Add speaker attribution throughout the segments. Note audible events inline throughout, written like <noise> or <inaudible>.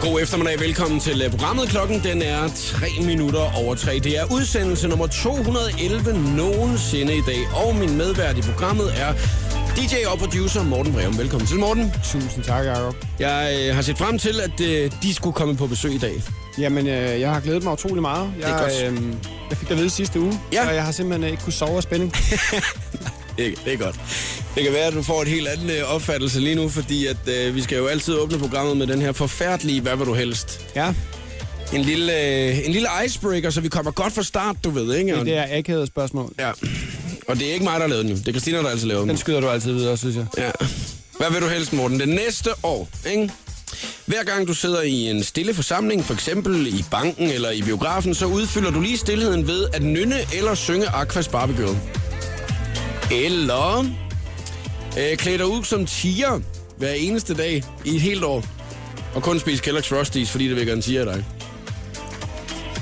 Speaker 1: god eftermiddag. Velkommen til øh, programmet. Klokken den er 3 minutter over 3. Det er udsendelse nummer 211 nogensinde i dag. Og min medvært i programmet er DJ og producer Morten Breum. Velkommen til, Morten.
Speaker 2: Tusind tak, Jacob.
Speaker 1: Jeg øh, har set frem til, at øh, de skulle komme på besøg i dag.
Speaker 2: Jamen, øh, jeg har glædet mig utrolig meget. Jeg,
Speaker 1: er godt.
Speaker 2: Øh, jeg fik det ved sidste uge,
Speaker 1: Ja.
Speaker 2: og jeg har simpelthen øh, ikke kunne sove af <laughs> spænding.
Speaker 1: Det, det er godt. Det kan være, at du får et helt andet øh, opfattelse lige nu, fordi at, øh, vi skal jo altid åbne programmet med den her forfærdelige hvad vil du helst.
Speaker 2: ja,
Speaker 1: En lille, øh, en lille icebreaker, så vi kommer godt fra start, du ved, ikke?
Speaker 2: det er akavet spørgsmål.
Speaker 1: Ja. Og det er ikke mig, der har lavet den jo. Det er Christina, der altid laver den.
Speaker 2: Den skyder du altid videre, synes jeg.
Speaker 1: Ja. Hvad vil du helst, Morten? Det næste år, ikke? Hver gang du sidder i en stille forsamling, for eksempel i banken eller i biografen, så udfylder du lige stillheden ved at nynne eller synge Aquas Barbie Girl. Eller øh, klæde dig ud som tiger hver eneste dag i et helt år. Og kun spise Kellogg's Frosties, fordi det vækker en tiger i dig.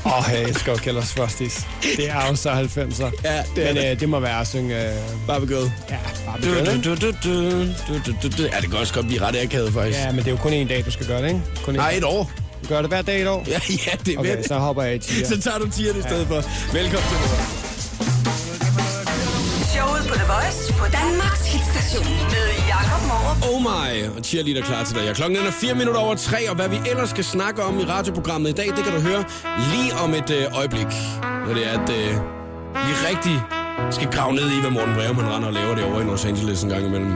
Speaker 2: Åh, oh, jeg elsker jo Kellers Frosties. Det er jo så 90'er.
Speaker 1: Ja, det er
Speaker 2: Men
Speaker 1: det.
Speaker 2: øh, det må være at synge... Øh,
Speaker 1: Barbie Girl.
Speaker 2: ja, bare
Speaker 1: Du,
Speaker 2: begynde.
Speaker 1: du, du, du, du, du, du, du. Ja, det kan også godt blive ret akavet, faktisk.
Speaker 2: Ja, men det er jo kun én dag, du skal gøre det, ikke? Kun én
Speaker 1: Nej,
Speaker 2: dag.
Speaker 1: et år. <laughs>
Speaker 2: Du gør det hver dag et år?
Speaker 1: Ja, ja, det er
Speaker 2: Okay,
Speaker 1: vel.
Speaker 2: så hopper jeg i tiger.
Speaker 1: <laughs> Så tager du tieren i stedet for. Velkommen til Morten.
Speaker 3: Showet på The Voice på Danmarks hitstation med Jakob Morup.
Speaker 1: Oh my, og cheerleader klar til dig. Ja, Klokken den er 4 minutter over 3, og hvad vi ellers skal snakke om i radioprogrammet i dag, det kan du høre lige om et øh, øjeblik. Når det er, at øh, vi rigtig skal grave ned i, hvad Morten Breum han render og laver det over i Los Angeles en gang imellem.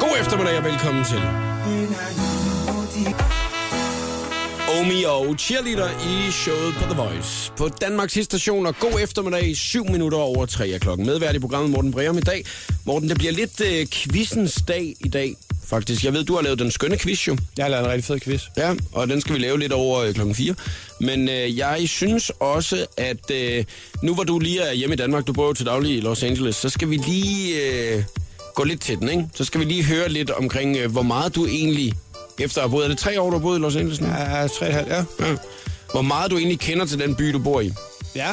Speaker 1: God eftermiddag og velkommen til. Omi og cheerleader i showet på The Voice. På Danmarks station og god eftermiddag, 7 minutter over 3 af klokken. Medvært i programmet Morten Breum i dag. Morten, det bliver lidt øh, quizens dag i dag, faktisk. Jeg ved, du har lavet den skønne quiz jo.
Speaker 2: <laughs> Jeg har lavet en rigtig fed quiz.
Speaker 1: Ja, og den skal vi lave lidt over øh, klokken 4. Men øh, jeg synes også, at øh, nu hvor du lige er hjemme i Danmark, du bor jo til daglig i Los Angeles, så skal vi lige øh, gå lidt til den, ikke? Så skal vi lige høre lidt omkring, øh, hvor meget du egentlig, efter at have boet, er det tre år, du har boet i Los Angeles nu?
Speaker 2: Ja, tre og et halvt, ja.
Speaker 1: Ja. <clears throat> Hvor meget du egentlig kender til den by, du bor i.
Speaker 2: Ja,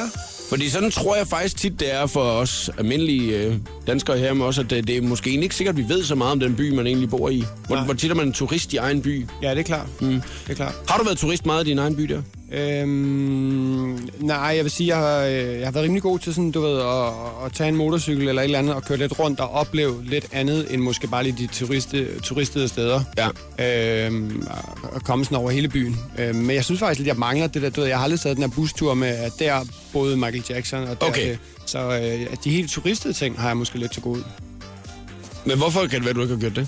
Speaker 1: Fordi sådan tror jeg faktisk tit, det er for os almindelige øh, danskere her med os, at øh, det, det er måske egentlig ikke sikkert, at vi ved så meget om den by, man egentlig bor i. Hvor,
Speaker 2: Nej.
Speaker 1: hvor tit er man en turist i egen by?
Speaker 2: ja det er klart. Mm. Det er klart.
Speaker 1: Har du været turist meget i din egen by der?
Speaker 2: Øhm, nej, jeg vil sige, jeg har, øh, jeg har været rimelig god til sådan, du ved, at, at tage en motorcykel eller et eller andet og køre lidt rundt og opleve lidt andet end måske bare lige de turiste, turistede steder.
Speaker 1: Ja.
Speaker 2: Øhm, og- og komme sådan over hele byen. Øhm, men jeg synes faktisk lidt, jeg mangler det der, du ved, jeg har aldrig taget den her bustur med, at der boede Michael Jackson og der
Speaker 1: Okay.
Speaker 2: det. Så øh, de helt turistede ting har jeg måske lidt til gode.
Speaker 1: Men hvorfor kan det være, du ikke har gjort det?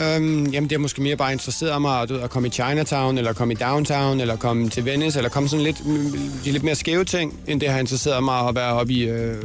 Speaker 2: Øhm, jamen, det har måske mere bare interesseret mig du ved, at komme i Chinatown, eller komme i downtown, eller komme til Venice, eller komme sådan lidt, mm, de lidt mere skæve ting, end det har interesseret mig at være oppe i øh, øh,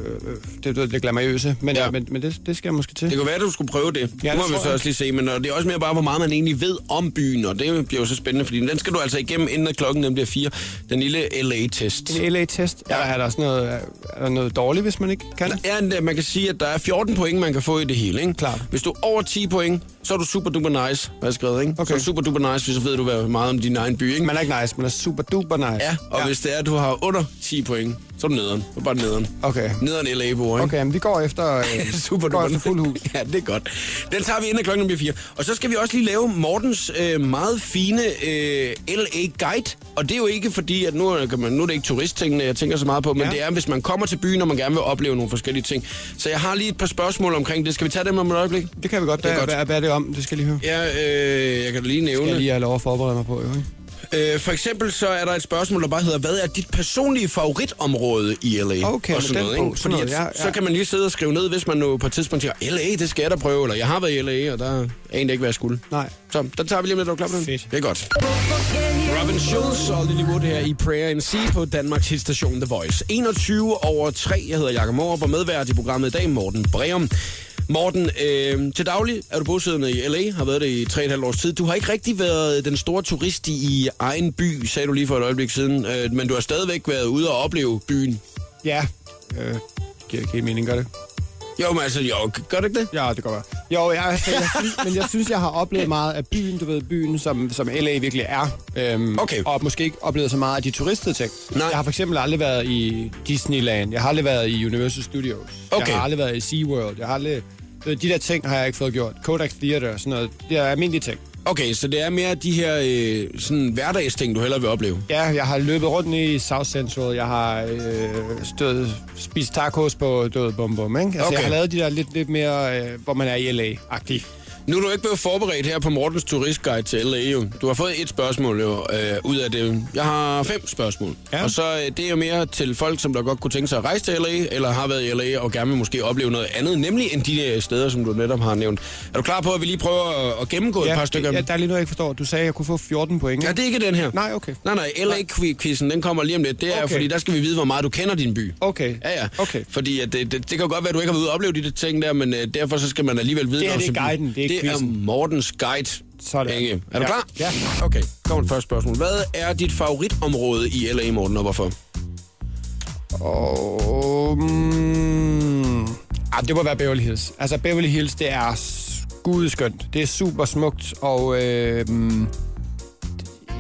Speaker 2: det, du ved, det glamourøse. Men,
Speaker 1: Ja.
Speaker 2: ja. men, men det, det skal jeg måske til.
Speaker 1: Det kunne være, at du skulle prøve det.
Speaker 2: Ja,
Speaker 1: Ja,
Speaker 2: det
Speaker 1: det må vi
Speaker 2: tror
Speaker 1: så
Speaker 2: jeg.
Speaker 1: også lige se. Men og det er også mere bare, hvor meget man egentlig ved om byen. Og det bliver jo så spændende, fordi den skal du altså igennem, inden at klokken den bliver fire. Den lille LA-test.
Speaker 2: En LA-test, ja.
Speaker 1: Ja.
Speaker 2: er, er, der sådan noget, er der noget dårligt, hvis man ikke kan?
Speaker 1: Der er, en- man kan sige, at der er 14 point, man kan få i det hele. Ikke?
Speaker 2: Klart.
Speaker 1: Hvis du er over 10 point, så er du super duper nice, har jeg skrevet. Ikke?
Speaker 2: Okay.
Speaker 1: Så er du super duper nice, så ved du hvad- meget om din egen by. Ikke?
Speaker 2: Man er ikke nice, man er super duper nice.
Speaker 1: Ja, og ja. hvis det er, at du har under 10 point, så er du nederen. Så er du bare nederen.
Speaker 2: Okay.
Speaker 1: Nederen LA-bord, ikke?
Speaker 2: Okay, men vi går efter, <laughs> øh,
Speaker 1: <laughs> Super
Speaker 2: går
Speaker 1: duper.
Speaker 2: efter fuld hus.
Speaker 1: <laughs> ja, det er godt. Den tager vi inden af klokken bliver fire. Og så skal vi også lige lave Mortens øh, meget fine øh, LA Guide. Og det er jo ikke fordi, at nu, er- kan man, nu er det ikke turisttingene, jeg tænker så meget på, men
Speaker 2: Ja.
Speaker 1: det er, hvis man kommer til byen, og man gerne vil opleve nogle forskellige ting. Så jeg har lige et par spørgsmål omkring det. Skal vi tage dem om et øjeblik?
Speaker 2: Det kan vi godt.
Speaker 1: Det er
Speaker 2: Hvad,
Speaker 1: godt.
Speaker 2: Hvad, hvad er det om? Det skal jeg lige høre.
Speaker 1: Ja, øh, jeg kan da lige
Speaker 2: Skal
Speaker 1: nævne.
Speaker 2: jeg lige have lov at forberede mig på, jo, ikke?
Speaker 1: Øh, for eksempel så er der et spørgsmål, der bare hedder, hvad er dit personlige favoritområde i LA?
Speaker 2: Okay,
Speaker 1: og
Speaker 2: med
Speaker 1: sådan
Speaker 2: den
Speaker 1: noget,
Speaker 2: bog,
Speaker 1: ikke? Fordi
Speaker 2: sådan noget,
Speaker 1: at,
Speaker 2: ja, ja.
Speaker 1: Så kan man lige sidde og skrive ned, hvis man nu på et tidspunkt siger, LA, det skal jeg da prøve, eller jeg har været i LA, og der anede ikke, hvad jeg skulle.
Speaker 2: Nej.
Speaker 1: Så der tager vi lige med, at du den.
Speaker 2: Fedt.
Speaker 1: Det er godt. Robin Schulz og Lily Wood her i Prayer and Sea på Danmarks hitstation The Voice. 21 over 3. Jeg hedder Jakob Morup og medvært i programmet i dag, Morten Breum. Morten, øh, til daglig er du bosiddende i L.A., har været det i 3,5 års tid. Du har ikke rigtig været den store turist i egen by, sagde du lige for et øjeblik siden, øh, men du har stadigvæk været ude og opleve byen.
Speaker 2: Ja. Øh, det giver ikke helt mening, gør det?
Speaker 1: Jo, men altså, jo, gør det ikke det?
Speaker 2: Ja, det kan være. Jo, jeg, altså, jeg synes, men jeg synes, jeg har oplevet meget af byen, du ved, byen, som, som LA virkelig er. Øhm,
Speaker 1: Okay.
Speaker 2: Og måske ikke oplevet så meget af de turistede ting.
Speaker 1: Nej.
Speaker 2: Jeg har for eksempel aldrig været i Disneyland. Jeg har aldrig været i Universal Studios.
Speaker 1: Okay.
Speaker 2: Jeg har aldrig været i SeaWorld. Jeg har aldrig... du ved, De der ting har jeg ikke fået gjort. Kodak Theater og sådan noget. Det er almindelige ting.
Speaker 1: Okay, så det er mere de her øh, sådan hverdagsting, du hellere vil opleve.
Speaker 2: Ja, jeg har løbet rundt i South Central. Jeg har øh, stået, spist tacos på død bum bum, ikke? Altså,
Speaker 1: Okay.
Speaker 2: okay. jeg har lavet de der lidt, lidt mere, øh, hvor man er i LA-agtig.
Speaker 1: Nu er du ikke blevet forberedt her på Mortens turistguide til LA. Jo. Du har fået et spørgsmål jo, øh, ud af det. Jeg har fem spørgsmål.
Speaker 2: Ja.
Speaker 1: Og så øh, det er jo mere til folk, som der godt kunne tænke sig at rejse til LA, eller har været i LA og gerne vil måske opleve noget andet, nemlig end de øh, steder, som du netop har nævnt. Er du klar på, at vi lige prøver at, at gennemgå ja, et par stykker?
Speaker 2: ja,
Speaker 1: Ja,
Speaker 2: der er lige noget, jeg ikke forstår. Du sagde, at jeg kunne få 14 point.
Speaker 1: ja,
Speaker 2: ikke?
Speaker 1: det er ikke den her.
Speaker 2: Nej, okay.
Speaker 1: Nej, nej, LA-quizzen, den kommer lige om lidt. Det er, okay.
Speaker 2: Okay.
Speaker 1: fordi der skal vi vide, hvor meget du kender din by.
Speaker 2: Okay.
Speaker 1: Ja, ja.
Speaker 2: Okay.
Speaker 1: Fordi at det, det, det kan jo godt være, at du ikke har været ude og opleve de der ting der, men øh, derfor så skal man alligevel vide...
Speaker 2: Det her,
Speaker 1: noget
Speaker 2: det er
Speaker 1: til byen.
Speaker 2: guiden, det er ikke
Speaker 1: Det er
Speaker 2: quizzen.
Speaker 1: Mortens guide.
Speaker 2: Sådan.
Speaker 1: Inge. Er du
Speaker 2: Ja.
Speaker 1: klar?
Speaker 2: Ja.
Speaker 1: Okay, kom med første spørgsmål. Hvad er dit favoritområde i LA, Morten, og hvorfor?
Speaker 2: Og... Mm, ah, det må være Beverly Hills. Altså, Beverly Hills, det er skudskønt. Det er super smukt, og... Øh, mm,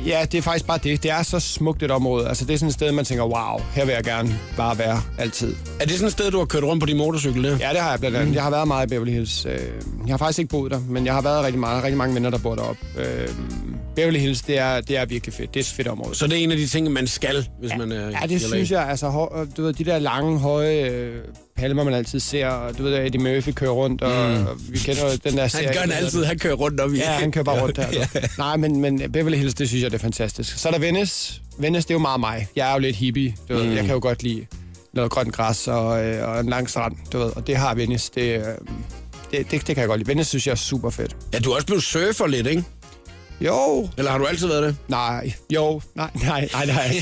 Speaker 2: ja, det er faktisk bare det. Det er så smukt et område. Altså, det er sådan et sted, man tænker, wow, her vil jeg gerne bare være altid.
Speaker 1: Er det sådan et sted, du har kørt rundt på din motorcykel der?
Speaker 2: Ja, det har jeg blandt
Speaker 1: Mm.
Speaker 2: andet. Jeg har været meget i Beverly Hills. Øh, Jeg har faktisk ikke boet der, men jeg har været rigtig meget. Rigtig mange venner, der bor deroppe. Øh, Beverly Hills, det er, det er virkelig fedt. Det er et fedt område.
Speaker 1: Så det er en af de ting, man skal, hvis man er
Speaker 2: Ja, det synes jeg. Altså, hår, du ved, de der lange, høje øh, palmer, man altid ser. Og du ved, Eddie Murphy kører rundt, og, mm. og vi kender jo den der serie.
Speaker 1: Han gør den
Speaker 2: der hedder-
Speaker 1: altid, han kører rundt om i.
Speaker 2: Ja, han kører bare rundt her. ja. Nej, men, men Beverly Hills, det synes jeg, det er fantastisk. Så er der Venice. Venice, det er jo meget mig. Jeg er jo lidt hippie. Du ved, mm. Jeg kan jo godt lide noget grønt græs og, øh, og en lang strand, du ved. Og det har Venice. Det, øh, det, det, det kan jeg godt lide. Venice synes jeg er super fedt.
Speaker 1: Ja, du er også blevet surfer lidt, ikke?
Speaker 2: Jo,
Speaker 1: Eller har du altid været det?
Speaker 2: Nej, jo, nej, nej, nej, nej.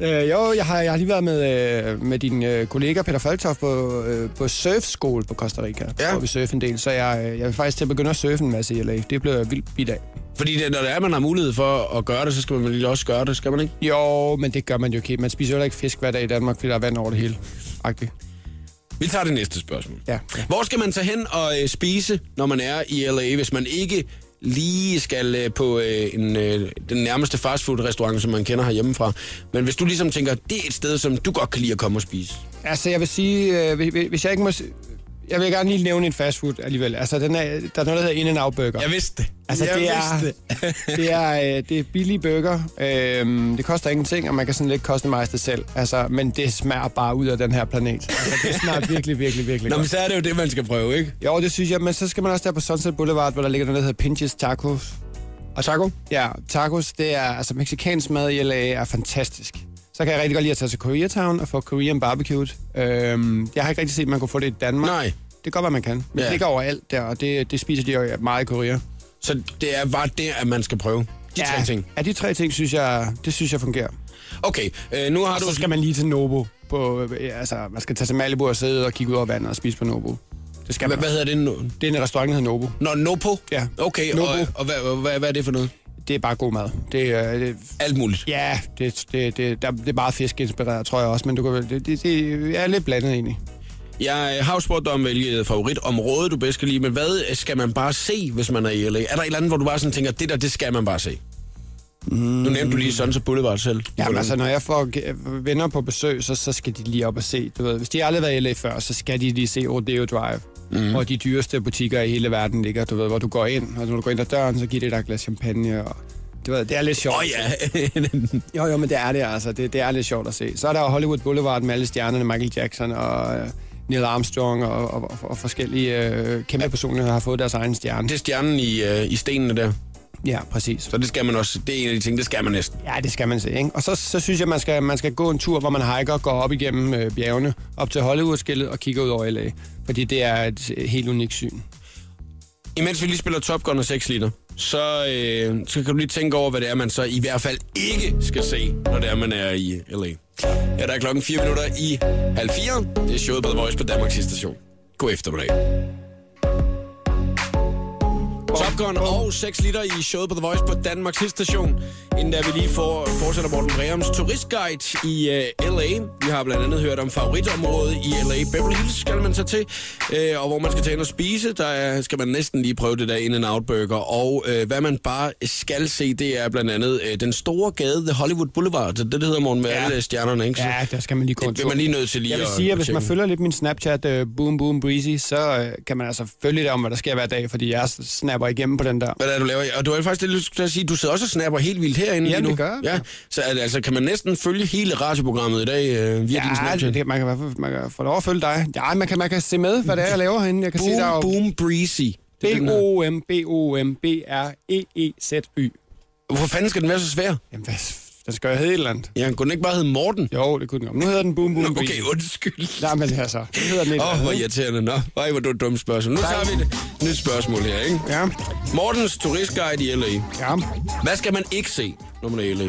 Speaker 2: <laughs> øh, jo, jeg har, jeg har lige været med, øh, med din øh, kollega Peter Faltoff på, øh, på surfskole på Costa Rica,
Speaker 1: Ja.
Speaker 2: ja. hvor vi surfer en del, så jeg, øh, jeg vil faktisk til at begynde at surfe en masse i LA. Det blev jeg vildt bidt af.
Speaker 1: Fordi det, når det er, man har mulighed for at gøre det, så skal man vel også gøre det, skal man ikke?
Speaker 2: Jo, men det gør man jo ikke. Man spiser jo heller ikke fisk hver dag i Danmark, fordi der er vand over det hele. Agtigt.
Speaker 1: Vi tager det næste spørgsmål.
Speaker 2: Ja.
Speaker 1: Hvor skal man tage hen og øh, spise, når man er i LA, hvis man ikke lige skal øh, på øh, en, øh, den nærmeste fastfood-restaurant, som man kender herhjemmefra. Men hvis du ligesom tænker, det er et sted, som du godt kan lide at komme og spise.
Speaker 2: Altså, jeg vil sige, øh, hvis- hvis jeg ikke må... s- Jeg vil gerne lige nævne en fastfood alligevel. Altså, den er, der er noget, der hedder In-N-Out Burger.
Speaker 1: vidste det.
Speaker 2: Altså, det, er, <laughs> det, er, øh, det er billige burger. Øhm, det koster ingenting, og man kan sådan lidt customize det selv. Altså, men det smager bare ud af den her planet. Altså, det smager virkelig, virkelig, virkelig
Speaker 1: Nå, men
Speaker 2: godt.
Speaker 1: så er det jo det, man skal prøve, ikke?
Speaker 2: Jo, det synes jeg, men så skal man også der på Sunset Boulevard, hvor der ligger noget, der hedder Pinches Tacos.
Speaker 1: Og taco?
Speaker 2: Ja, tacos, det er, altså mexikansk mad i LA er fantastisk. Så kan jeg rigtig godt lide at tage til Koreatown og få Korean barbecue. Øhm, jeg har ikke rigtig set, at man kunne få det i Danmark.
Speaker 1: Nej.
Speaker 2: Det kan godt være, man kan. Men
Speaker 1: Ja.
Speaker 2: ja. det ligger overalt der, og det, det spiser de jo meget i Korea.
Speaker 1: Så det er bare det, at man skal prøve. De ja. tre ting.
Speaker 2: Ja, de tre ting, synes jeg, det synes jeg fungerer.
Speaker 1: Okay, øh, nu har
Speaker 2: Og
Speaker 1: du...
Speaker 2: så skal man lige til Nobo. På, øh, altså, man skal tage til Malibu og sidde og kigge ud over vandet og spise på Nobo. Det skal
Speaker 1: Hvad,
Speaker 2: man.
Speaker 1: hvad hedder det nu?
Speaker 2: Det er en restaurant, der hedder Nobo.
Speaker 1: Nå, Nopo?
Speaker 2: Ja.
Speaker 1: Okay,
Speaker 2: Nopo.
Speaker 1: og, og hvad, hvad, hvad er det for noget?
Speaker 2: Det er bare god mad. Det, øh, det,
Speaker 1: Alt muligt.
Speaker 2: ja, det, det, det, der, det er meget fiskinspireret, tror jeg også, men du kan, vel- det, det, det er lidt blandet egentlig.
Speaker 1: Jeg øh, har jo spurgt dig om, hvilket favoritområde du bedst kan lide, men hvad øh, skal man bare se, hvis man er i LA? Er der et eller andet, hvor du bare sådan tænker, det der, det skal man bare se? Mm. Nu nævnte du lige Sunset Boulevard selv.
Speaker 2: Jamen
Speaker 1: Hvordan-
Speaker 2: altså, når jeg får g- venner på besøg, så, så skal de lige op og se. Du ved, hvis de aldrig har været i LA før, så skal de lige se Rodeo Drive.
Speaker 1: Mhm.
Speaker 2: Mm. Hvor de dyreste butikker i hele verden ligger, du ved, hvor du går ind, og når du går ind ad døren, så giver det dig et glas champagne, og du ved, det er lidt sjovt.
Speaker 1: Åh oh, ja, <laughs>
Speaker 2: Jo, jo, men det er det altså. Det, det er lidt sjovt at se. Så er der jo Hollywood Boulevard med alle stjernerne, Michael Jackson og øh, Neil Armstrong og, og, og, og forskellige øh, kæmpe personer, der har fået deres egen stjerne.
Speaker 1: det er stjernen i, øh, i stenene der.
Speaker 2: Ja, præcis.
Speaker 1: Så det skal man også. Det er en af de ting, det skal man næsten.
Speaker 2: Ja, det skal man se, ikke? Og så, så synes jeg, man skal, man skal gå en tur, hvor man hiker, går op igennem øh, bjergene, op til Hollywoodskillet og kigger ud over LA. Fordi det er et øh, helt unikt syn.
Speaker 1: Imens vi lige spiller Top Gun og 6 liter, så, øh, så kan du lige tænke over, hvad det er, man så i hvert fald ikke skal se, når det er, man er i LA. Ja, der er klokken 4 minutter i halv fire. Det er showet på The Voice på Danmarks station. God eftermiddag. Top Gun og 6 liter i showet på The Voice på Danmarks station. Inden da vi lige får, fortsætter Morten Breums turistguide i uh, L.A. Vi har blandt andet hørt om favoritområdet i L.A. Beverly Hills skal man tage til, uh, og hvor man skal tage ind og spise. Der er- skal man næsten lige prøve det der in out burger Og uh, hvad man bare skal se, det er blandt andet uh, den store gade, The Hollywood Boulevard. Det, det hedder Morten med
Speaker 2: Ja.
Speaker 1: alle stjernerne, ikke? Så
Speaker 2: Ja, der skal man lige gå en
Speaker 1: det
Speaker 2: tur.
Speaker 1: bliver man lige nødt til lige
Speaker 2: Jeg vil
Speaker 1: at,
Speaker 2: sige, at hvis man
Speaker 1: tjekke.
Speaker 2: følger lidt min Snapchat, øh, Boom Boom Breezy, så øh, kan man altså følge lidt om, hvad der sker hver dag, fordi jeg snapper hjemme på den der.
Speaker 1: Hvad er det, du laver? Og du er faktisk det, du skulle sige, du sidder også og snapper helt vildt herinde
Speaker 2: Jamen,
Speaker 1: lige nu.
Speaker 2: det gør jeg,
Speaker 1: ja.
Speaker 2: ja.
Speaker 1: Så er det- altså, kan man næsten følge hele radioprogrammet i dag øh, via din
Speaker 2: Ja, altså-
Speaker 1: Snapchat?
Speaker 2: det, det, man, kan, i hvert fald- man kan få lov at følge dig. Ja, man kan, man kan se med, hvad det er, jeg laver herinde. Jeg kan se, der er
Speaker 1: Boom,
Speaker 2: jo
Speaker 1: boom, breezy. Det er den her.
Speaker 2: E B-O-M-B-O-M-B-R-E-E-Z-Y.
Speaker 1: Hvorfor fanden skal den være så svær?
Speaker 2: Jamen, hvad? f- Den skal jo hedde et eller andet.
Speaker 1: Ja, kunne den ikke bare hedde Morten?
Speaker 2: Jo, det kunne den godt. Nu hedder den Boom Boom
Speaker 1: Nå, okay,
Speaker 2: Beat.
Speaker 1: undskyld.
Speaker 2: Nej, men altså, nu hedder den et
Speaker 1: Åh, oh,
Speaker 2: eller
Speaker 1: hvor
Speaker 2: andet.
Speaker 1: irriterende. Nå, ej, hvor du et dumt spørgsmål. Nu tager vi et nyt spørgsmål her, ikke?
Speaker 2: Ja,
Speaker 1: Mortens turistguide i LA.
Speaker 2: ja.
Speaker 1: Hvad skal man ikke se, når man er i LA?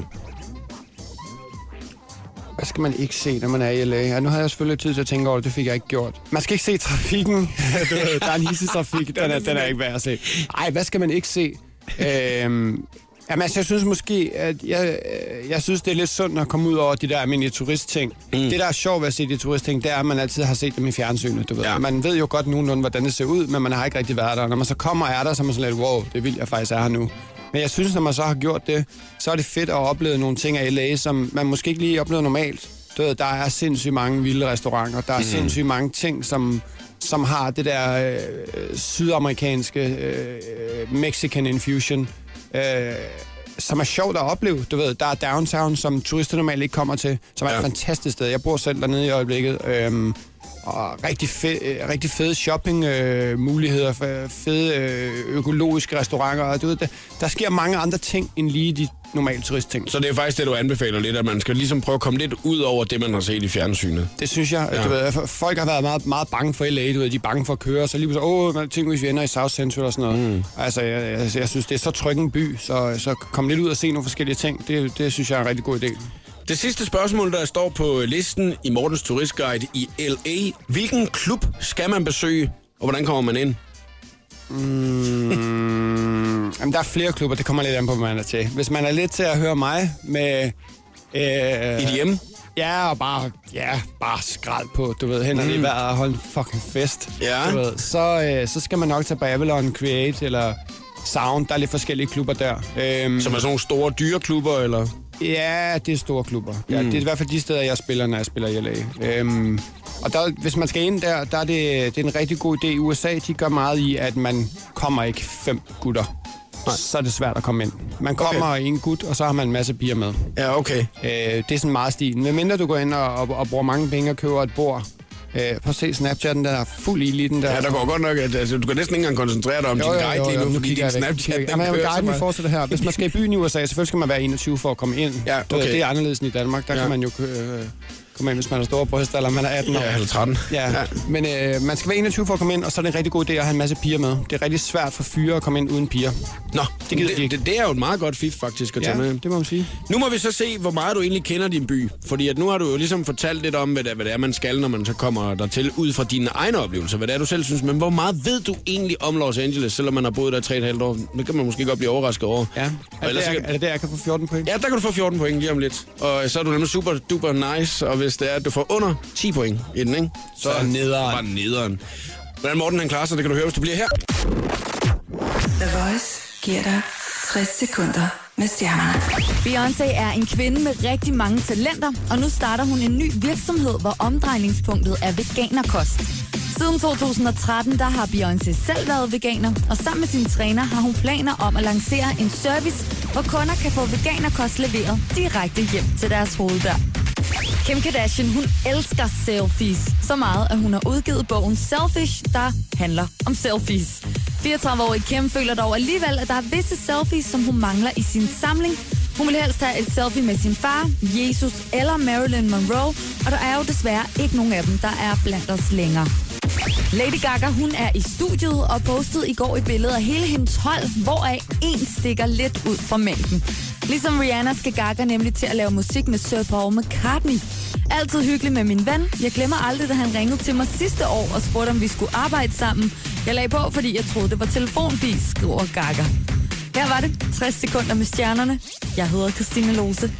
Speaker 2: Hvad skal man ikke se, når man er i LA? Ja, nu havde jeg selvfølgelig tid til at tænke over det. Det fik jeg ikke gjort. Man skal ikke se trafikken. <laughs> Du ved, der er en hissig trafik. Den er, den er ikke værd at se. Ej, hvad skal man ikke se? Øhm, jamen, altså, jeg synes måske, at jeg, øh, jeg synes, det er lidt sundt at komme ud over de der almindelige turistting. Mm. Det, der er sjovt ved at se de turistting, det er, at man altid har set dem i fjernsynet. Du ved.
Speaker 1: Ja.
Speaker 2: Ja. Man ved jo godt nogenlunde, hvordan det ser ud, men man har ikke rigtig været der. Når man så kommer og er der, så er man sådan lidt, wow, det er vildt, jeg faktisk er her nu. Men jeg synes, når man så har gjort det, så er det fedt at opleve nogle ting af LA, som man måske ikke lige oplever normalt. Du ved, der er sindssygt mange vilde restauranter, der er mm. sindssygt mange ting, som, som har det der øh, sydamerikanske øh, Mexican infusion, øh, som er sjovt at opleve. Du ved, der er downtown, som turister normalt ikke kommer til, som er
Speaker 1: Ja.
Speaker 2: et fantastisk sted. Jeg bor selv dernede i øjeblikket. Øhm, og rigtig, fe, øh, rigtig fede shopping-muligheder, fede øh, økologiske restauranter. Og du ved, der, der sker mange andre ting end lige de normale turistting.
Speaker 1: Så det er faktisk det, du anbefaler lidt, at man skal ligesom prøve at komme lidt ud over det, man har set i fjernsynet.
Speaker 2: Det synes jeg. Ja. Du ved, f- folk har været meget, meget bange for LA, du ved, de er bange for at køre, og så lige pludselig, åh, man tænker, hvis vi ender i South Central og sådan noget. Mm. Altså, jeg, jeg, jeg, synes, det er så tryg en by, så, så kom lidt ud og se nogle forskellige ting. Det, det synes jeg er en rigtig god idé.
Speaker 1: Det sidste spørgsmål, der står på øh, listen i Mortens Turistguide i LA. Hvilken klub skal man besøge, og hvordan kommer man ind?
Speaker 2: Mm, jamen, der er flere klubber, det kommer lidt an på, hvad man er til. Hvis man er lidt til at høre mig med... Øh,
Speaker 1: I dit hjem?
Speaker 2: Ja, og bare, ja, bare skrald på, du ved, hænderne mm. i vejret og holde en fucking fest.
Speaker 1: Ja.
Speaker 2: Du ved, så, øh, så skal man nok tage Babylon Create eller Sound. Der er lidt forskellige klubber der. Øhm,
Speaker 1: Som er sådan nogle store dyreklubber, eller?
Speaker 2: Ja, det er store klubber. Ja, det er i hvert fald de steder, jeg spiller, når jeg spiller i LA. Øhm, og der, hvis man skal ind der, der er det, det er en rigtig god idé i USA. De gør meget i, at man kommer ikke fem gutter. Nej. Så er det svært at komme ind. Man kommer okay. en gut, og så har man en masse piger med.
Speaker 1: Ja, okay.
Speaker 2: Øh, det er sådan meget stilen. Men mindre du går ind og, og, og bruger mange penge og køber et bord. Øh, prøv at se Snapchatten, der er fuld ild i den der.
Speaker 1: Ja, der går godt nok, at altså, du kan næsten ikke engang koncentrere dig om din guide lige nu, fordi din Snapchat, den
Speaker 2: den Jamen,
Speaker 1: kører så
Speaker 2: guiden
Speaker 1: meget.
Speaker 2: fortsætter her. Hvis man skal i byen i USA, selvfølgelig skal man være 21 for at komme ind.
Speaker 1: Ja,
Speaker 2: Du ved,
Speaker 1: okay.
Speaker 2: Det er anderledes end i Danmark. Der
Speaker 1: Ja.
Speaker 2: ja. kan man jo øh, komme ind, hvis man har store bryster, eller man er 18 år.
Speaker 1: Ja, eller 13.
Speaker 2: Ja, ja. men øh, man skal være 21 for at komme ind, og så er det en rigtig god idé at have en masse piger med. Det er rigtig svært for fyre at komme ind uden piger.
Speaker 1: Nå, det,
Speaker 2: gider de
Speaker 1: det,
Speaker 2: ikke.
Speaker 1: det, det er jo et meget godt fif faktisk at tage med.
Speaker 2: det må man sige.
Speaker 1: Nu må vi så se, hvor meget du egentlig kender din by. Fordi at nu har du jo ligesom fortalt lidt om, hvad det, er- hvad det er, man skal, når man så kommer dertil, ud fra dine egne oplevelser. Hvad det er, du selv synes. Men hvor meget ved du egentlig om Los Angeles, selvom man har boet der 3,5 år? Det kan man måske godt blive overrasket over.
Speaker 2: Ja.
Speaker 1: Og
Speaker 2: Er det,
Speaker 1: ellers,
Speaker 2: der,
Speaker 1: så
Speaker 2: er
Speaker 1: kan...
Speaker 2: det der, jeg kan få 14 point?
Speaker 1: Ja, der kan du få 14 point lige om lidt. Og så er du nemlig super duper nice. Og hvis det er, at du får under 10 point i den, ikke?
Speaker 2: Så er nederen.
Speaker 1: Var nederen. Hvordan Morten han klarer sig, det kan du høre, hvis du bliver her.
Speaker 3: The Voice giver dig 60 sekunder med stjernerne.
Speaker 4: Beyoncé er en kvinde med rigtig mange talenter, og nu starter hun en ny virksomhed, hvor omdrejningspunktet er veganerkost. Siden 2013 der har Beyoncé selv været veganer, og sammen med sin træner har hun planer om at lancere en service, hvor kunder kan få veganerkost leveret direkte hjem til deres hoveddør. Kim Kardashian, hun elsker selfies så meget, at hun har udgivet bogen Selfish, der handler om selfies. 34-årige Kim føler dog alligevel, at der er visse selfies, som hun mangler i sin samling. Hun vil helst have et selfie med sin far, Jesus eller Marilyn Monroe, og der er jo desværre ikke nogen af dem, der er blandt os længere. Lady Gaga, hun er i studiet og postede i går et billede af hele hendes hold, hvoraf en stikker lidt ud fra mængden. Ligesom Rihanna skal Gaga nemlig til at lave musik med Sir Paul McCartney. Altid hyggelig med min ven. Jeg glemmer aldrig, da han ringede til mig sidste år og spurgte, om vi skulle arbejde sammen. Jeg lagde på, fordi jeg troede, det var telefonfis, skriver Gaga. Her var det 60 sekunder med stjernerne. Jeg hedder Christine Lose.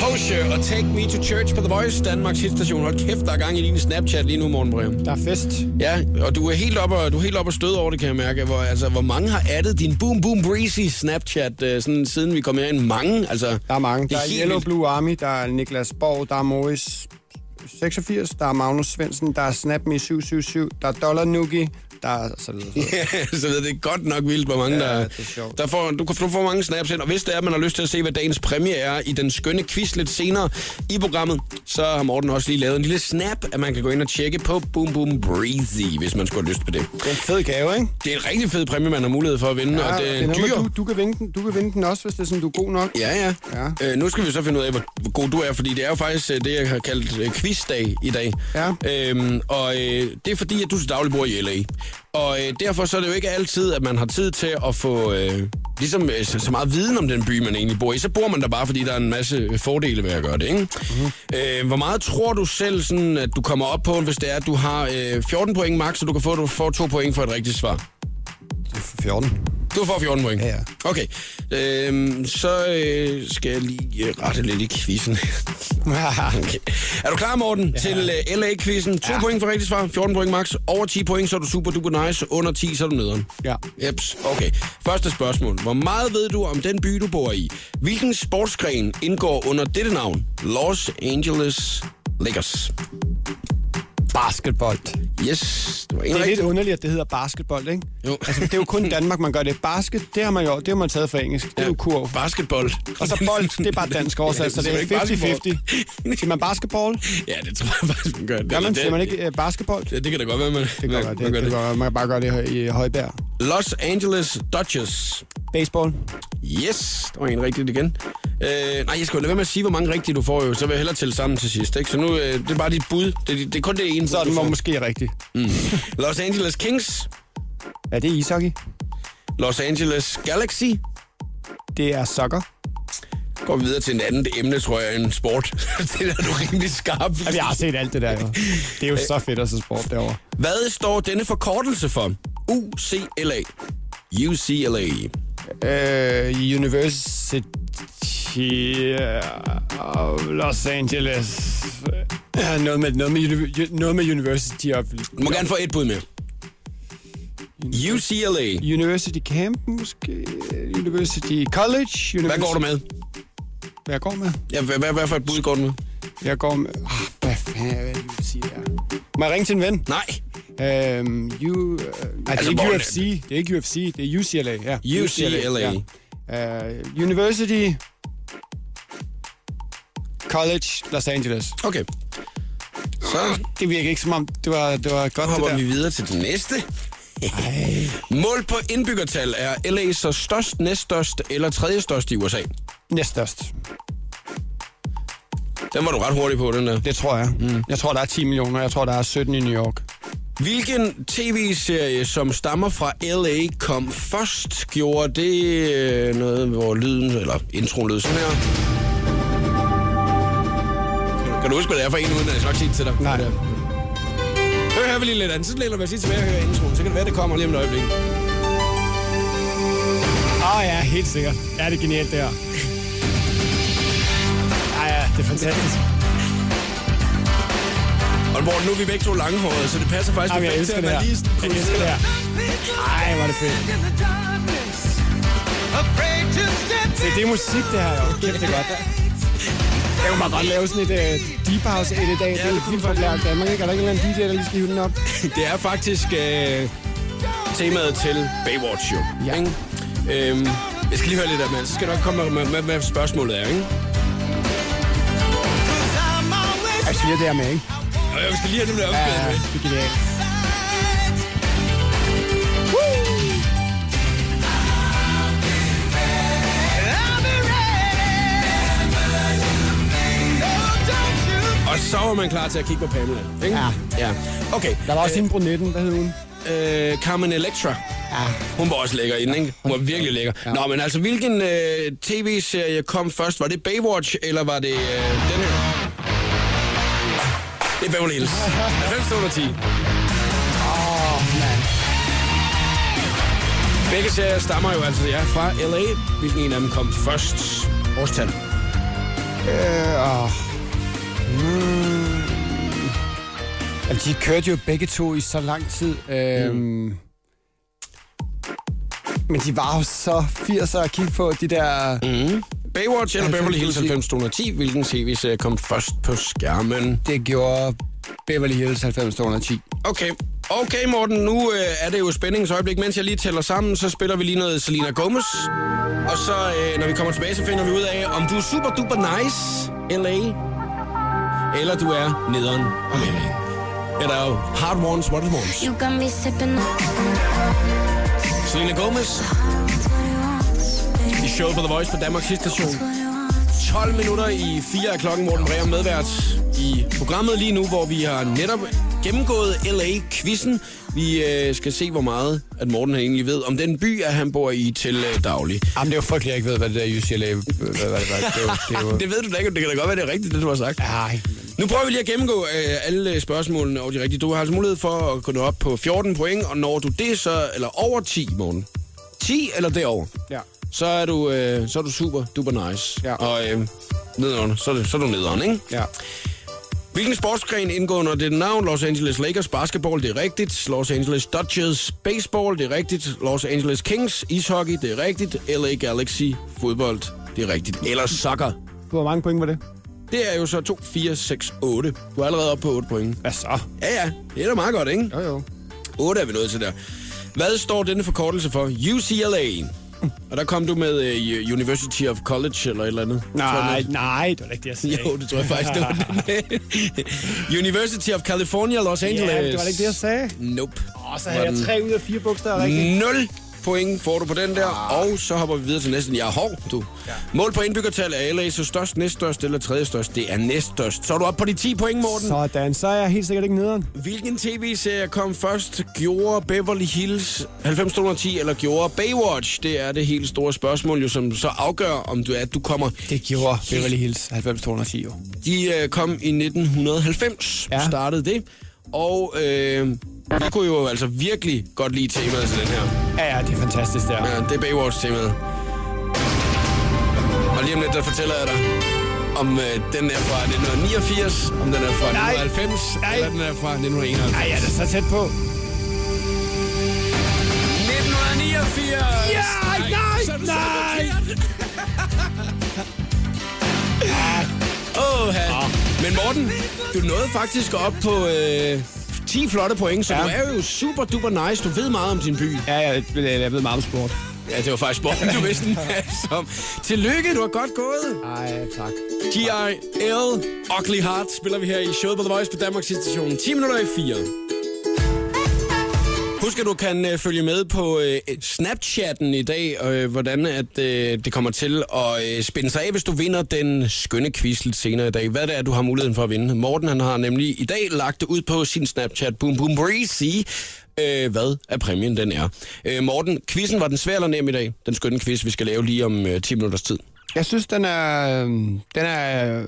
Speaker 1: Hoshe og Take Me to Church på The Voice, Danmarks hitstation. Hold kæft, der er gang i din Snapchat lige nu, Morten Breum.
Speaker 2: Der er fest.
Speaker 1: Ja, og du er helt oppe og, du er helt oppe og støde over det, kan jeg mærke. Hvor, altså, hvor mange har addet din Boom Boom Breezy Snapchat, øh, sådan, siden vi kom herind? Mange, altså.
Speaker 2: Der er mange. Der er
Speaker 1: helt
Speaker 2: Yellow
Speaker 1: <laughs> vildt.
Speaker 2: Blue Army, der er Niklas Borg, der er Morris 86, der er Magnus Svensen, der er SnapMe 777, der er Dollar Nuki, der er så videre. Så
Speaker 1: så
Speaker 2: videre.
Speaker 1: ved Altså, jeg, det er godt nok vildt, hvor mange ja, der,
Speaker 2: det er sjovt.
Speaker 1: der får, du, kan- du får mange snaps ind. Og hvis det er, at man har lyst til at se, hvad dagens præmie er i den skønne quiz lidt senere i programmet, så har Morten også lige lavet en lille snap, at man kan gå ind og tjekke på Boom Boom Breezy, hvis man skulle have lyst på det.
Speaker 2: Det er en fed gave, ikke?
Speaker 1: Det er en rigtig fed præmie, man har mulighed for at vinde, ja, og det er en
Speaker 2: noget med,
Speaker 1: dyr.
Speaker 2: Du, du, kan vinde den, du kan vinde den også, hvis det er sådan, du er god nok.
Speaker 1: Ja, ja.
Speaker 2: Ja.
Speaker 1: Øh, nu skal vi så finde ud af, hvor hvor god du er, fordi det er jo faktisk øh, det, jeg har kaldt øh, quizdag i dag.
Speaker 2: Ja.
Speaker 1: Øhm, og øh, det er fordi, at du til daglig bor i LA. Og øh, derfor så er det jo ikke altid, at man har tid til at få øh, ligesom, øh, så så meget viden om den by, man egentlig bor i. Så bor man der bare, fordi der er en masse øh, fordele ved at gøre det. Ikke?
Speaker 2: Mhm.
Speaker 1: Mm-hmm. Øh, hvor meget tror du selv, sådan, at du kommer op på, hvis det er, at du har øh, 14 point max, så du kan få du får to point for et rigtigt svar?
Speaker 2: 14.
Speaker 1: Du får 14 point.
Speaker 2: Ja, ja.
Speaker 1: Okay. Øhm, så øh, skal jeg lige øh, rette lidt i quizzen. <laughs> okay. Er du klar, Morten, ja. til øh, LA-quizzen? 2 ja. point for rigtigt svar, 14 point max. Over 10 point, så er du super duper nice. Under 10, så er du nederen.
Speaker 2: Ja.
Speaker 1: Jeps. Okay. Første spørgsmål. Hvor meget ved du om den by, du bor i? Hvilken sportsgren indgår under dette navn? Los Angeles Lakers.
Speaker 2: Basketball.
Speaker 1: Yes. Det var en
Speaker 2: Det er
Speaker 1: rigtig.
Speaker 2: lidt underligt, at det hedder basketball, ikke?
Speaker 1: Jo.
Speaker 2: Altså, det er jo
Speaker 1: <laughs>
Speaker 2: kun i Danmark, man gør det. Basket, det har man jo det har man taget fra engelsk. Det er jo kurv.
Speaker 1: Basketball.
Speaker 2: Og så bold, det er bare dansk oversat, så det
Speaker 1: <laughs> Ja,
Speaker 2: er
Speaker 1: det er ikke
Speaker 2: 50-50.
Speaker 1: <laughs>
Speaker 2: Siger man basketball?
Speaker 1: Ja, det tror jeg faktisk, man gør.
Speaker 2: Gør man,
Speaker 1: det,
Speaker 2: siger man ikke øh, basketball? Det
Speaker 1: Ja, det kan da godt være, man, det
Speaker 2: kan
Speaker 1: man,
Speaker 2: godt være,
Speaker 1: man
Speaker 2: det,
Speaker 1: gør
Speaker 2: det,
Speaker 1: det.
Speaker 2: kan godt være. man kan bare gøre det i Højbjerg.
Speaker 1: Los Angeles Dodgers.
Speaker 2: Baseball.
Speaker 1: Yes, der var en rigtigt igen. Øh, nej, jeg skal jo lade være med at sige, hvor mange rigtige du får jo. Så vil jeg hellere tælle sammen til sidst. Ikke? Så nu, øh, det er bare dit bud. Det, det, det er kun det ene.
Speaker 2: Så er
Speaker 1: du
Speaker 2: den
Speaker 1: får.
Speaker 2: måske rigtig.
Speaker 1: Los Angeles Kings.
Speaker 2: Ja, det er ishockey.
Speaker 1: Los Angeles Galaxy.
Speaker 2: Det er soccer.
Speaker 1: Går vi videre til en anden emne, tror jeg, end sport. <laughs> det er da du er rimelig skarp.
Speaker 2: Jamen, Altså, jeg har set alt det der, jo.
Speaker 1: <laughs>
Speaker 2: Det er jo så fedt at se sport derovre.
Speaker 1: Hvad står denne forkortelse for? UCLA. UCLA.
Speaker 2: Øh, University of Los Angeles. Ja, noget med, noget med, uni- noget med University of...
Speaker 1: Du må gerne få et bud med. UCLA.
Speaker 2: University Camp, måske? University College? University.
Speaker 1: Hvad går du med?
Speaker 2: Hvad jeg går med?
Speaker 1: Ja, hvad, hvad, hvad for et bud går du med?
Speaker 2: Jeg går med... Ah, hvad fanden er det, jeg vil sige der? Må jeg ringe til en ven?
Speaker 1: Nej.
Speaker 2: Øhm, U, øh, nej, det
Speaker 1: Altså,
Speaker 2: er ikke
Speaker 1: hvor-
Speaker 2: UFC. Det er ikke UFC, det er UCLA. Ja.
Speaker 1: UCLA.
Speaker 2: Ja. Øh, University College Los Angeles.
Speaker 1: Okay. Så
Speaker 2: Det virker ikke som om, det var, det var godt det
Speaker 1: hopper
Speaker 2: der.
Speaker 1: vi videre til den næste. Mål på indbyggertal er LA så størst, næststørst eller tredje størst i USA.
Speaker 2: Næststørst.
Speaker 1: Den var du ret hurtig på, den der.
Speaker 2: Det tror jeg. Mm. Jeg tror, der er 10 millioner. Jeg tror, der er 17 i New York.
Speaker 1: Hvilken tv-serie, som stammer fra LA, kom først? Gjorde det øh, noget, hvor lyden, eller introen lød sådan her? Kan du- Kan du huske, hvad det er for en, uden at jeg skal nok sige det til dig?
Speaker 2: Nej.
Speaker 1: Hør her vi lige lidt andet. Så læner vi os lige tilbage og hører introen. Så kan det være, det kommer lige om et øjeblik.
Speaker 2: Åh oh, ja, helt sikkert. Ja, det er genialt, <laughs> det her. Ja, ja, det er fantastisk.
Speaker 1: Og hvor nu er vi begge to langhårede, så det passer faktisk
Speaker 2: Jamen, jeg
Speaker 1: perfekt til,
Speaker 2: elsker
Speaker 1: at
Speaker 2: det her.
Speaker 1: man lige
Speaker 2: Jeg elsker det her. Ej, hvor er det fedt. Se, det er musik, det her. Jo. Kæft, det er godt. Jeg kunne bare godt lave sådan et uh, deep house et i dag. Ja, det er jo vildt populært i Danmark, ikke? Er der ikke en eller anden DJ, der lige skal hive den op?
Speaker 1: Det er faktisk øh, temaet til Baywatch Show.
Speaker 2: Ja.
Speaker 1: Ikke? Øhm, jeg skal lige høre lidt af, men så skal jeg nok komme med, med, med, hvad spørgsmålet er, ikke?
Speaker 2: Jeg siger det her med, ikke?
Speaker 1: Og jeg skal lige have det der
Speaker 2: Ja,
Speaker 1: opspillet med.
Speaker 2: det er genialt.
Speaker 1: Og så var man klar til at kigge på Pamela, ikke?
Speaker 2: Ja.
Speaker 1: ja. Okay.
Speaker 2: Der var også hende brunetten, hvad hed hun?
Speaker 1: øh, Carmen Electra.
Speaker 2: Ja.
Speaker 1: Hun var også lækker inden, ikke? Hun var virkelig lækker.
Speaker 2: Ja.
Speaker 1: Nå, men altså, hvilken øh, tv-serie kom først? Var det Baywatch, eller var det øh, den her? Det er Beverly
Speaker 2: <laughs>
Speaker 1: Hills. 90 under 10.
Speaker 2: Åh, oh, mand.
Speaker 1: Begge serier stammer jo altså ja, fra L.A. Hvilken en af dem kom først? Årstal.
Speaker 2: Øh, åh. Mm. Jamen, de kørte jo begge to i så lang tid. Øhm. Mm. Men de var jo så 80'er at kigge på, de der... Mm.
Speaker 1: Baywatch eller
Speaker 2: 90
Speaker 1: Beverly Hills
Speaker 2: under 10.
Speaker 1: 90 under 10? Hvilken tv-serie kom først på skærmen?
Speaker 2: Det gjorde Beverly Hills 90 210.
Speaker 1: Okay, Okay, Morten, nu øh, er det jo spændingens øjeblik. Mens jeg lige tæller sammen, så spiller vi lige noget Selena Gomez. Og så, øh, når vi kommer tilbage, så finder vi ud af, om du er super duper nice, LA, eller du er nederen om LA. Ja, der er jo hard ones, modern ones.
Speaker 5: You got me sipping
Speaker 1: Selena Gomez i showet på The Voice på Danmarks station. 12 minutter i 4 af klokken, Morten Breum medvært i programmet lige nu, hvor vi har netop gennemgået LA-quizzen. Vi øh, skal se, hvor meget at Morten han egentlig ved om den by, at han bor i til øh, daglig.
Speaker 2: Jamen, det er jo frygteligt, jeg ikke ved, hvad det der UCLA... Hvad, hvad, hvad, hvad, det er jo... Det er jo
Speaker 1: Det ved du da ikke, det kan da godt være, det er rigtigt, det du har sagt.
Speaker 2: <laughs> ej,
Speaker 1: Nu prøver vi lige at gennemgå øh, alle spørgsmålene over de rigtige. Du har altså mulighed for at kunne nå op på 14 point, og når du det så, eller over 10, Morten. 10 eller derover,
Speaker 2: ja.
Speaker 1: så er du, øh, så er du super duper nice.
Speaker 2: Ja.
Speaker 1: Og øh, nedenunder, så er, det, så er du nederen, ikke?
Speaker 2: ja.
Speaker 1: Hvilken sportsgren indgår under det navn? Los Angeles Lakers basketball, det er rigtigt. Los Angeles Dodgers baseball, det er rigtigt. Los Angeles Kings ishockey, det er rigtigt. LA Galaxy fodbold, det er rigtigt. Eller soccer.
Speaker 2: Hvor mange point var det?
Speaker 1: Det er jo så 2, 4, 6, 8. Du er allerede oppe på 8 point.
Speaker 2: Hvad så?
Speaker 1: Ja, ja. Det er da meget godt, ikke?
Speaker 2: Jo, jo.
Speaker 1: 8 er vi nået til der. Hvad står denne forkortelse for? UCLA. Og der kom du med uh, University of College eller et eller andet. Tror
Speaker 2: Nej,
Speaker 1: jeg
Speaker 2: nej, det var da ikke det, jeg sagde.
Speaker 1: noget. Jo, det tror jeg faktisk, det var det. <laughs> University of California, Los Angeles.
Speaker 2: Ja, det var da ikke det, jeg sagde.
Speaker 1: Nope.
Speaker 2: Åh, så havde jeg tre ud af fire bogstaver rigtigt.
Speaker 1: 0 point får du på den der,
Speaker 2: Ah.
Speaker 1: og så hopper vi videre til næsten. Jeg er hård, du. Ja. Mål på indbyggertal er LA, så størst, næststørst eller tredje størst. Det er næststørst. Så er du oppe på de 10 point, Morten.
Speaker 2: Sådan, så er jeg helt sikkert ikke nederen.
Speaker 1: Hvilken tv-serie kom først? Gjorde Beverly Hills 90210 eller gjorde Baywatch? Det er det helt store spørgsmål, jo, som så afgør, om du er, at du kommer.
Speaker 2: Det gjorde Beverly Hills 90-210 jo.
Speaker 1: De øh, kom i 1990, ja.
Speaker 2: Ja.
Speaker 1: startede det. Og øh, jeg kunne jo altså virkelig godt lide temaet til den her.
Speaker 2: Ja, ja, det er fantastisk der.
Speaker 1: Ja, det er Baywatch-temaet. Og lige om lidt, der fortæller jeg dig, om øh, den er fra 1989, om den er fra
Speaker 2: Nej.
Speaker 1: 1990,
Speaker 2: Nej.
Speaker 1: eller den er fra 1991.
Speaker 2: Ej, jeg er da så tæt på.
Speaker 1: 1989!
Speaker 2: Ja, nej,
Speaker 1: så er du
Speaker 2: nej.
Speaker 1: <laughs> Åh, Men Morten, du nåede faktisk op på øh, 10 flotte point, så ja.
Speaker 2: Ja.
Speaker 1: du er jo super duper nice. Du ved meget om din by.
Speaker 2: Ja, jeg, jeg, jeg ved meget om sport.
Speaker 1: Ja, det var faktisk Morten, du vidste den masse om. Tillykke, du har godt gået.
Speaker 2: Ej, tak.
Speaker 1: G.I.L. Ugly Heart spiller vi her i showet på The Voice på Danmarks station. 10 minutter i 4. Husk, at du kan øh, følge med på øh, Snapchatten i dag, og øh, hvordan at, øh, det kommer til at øh, spænde sig af, hvis du vinder den skønne quiz lidt senere i dag. Hvad det er, du har muligheden for at vinde. Morten han har nemlig i dag lagt det ud på sin Snapchat, Boom Boom Breezy, øh, hvad er præmien den er. Øh, Morten, quizzen var den svær eller nem i dag? Den skønne quiz, vi skal lave lige om øh, 10 minutters tid.
Speaker 2: Jeg synes, den er... øhm, Den er... øh,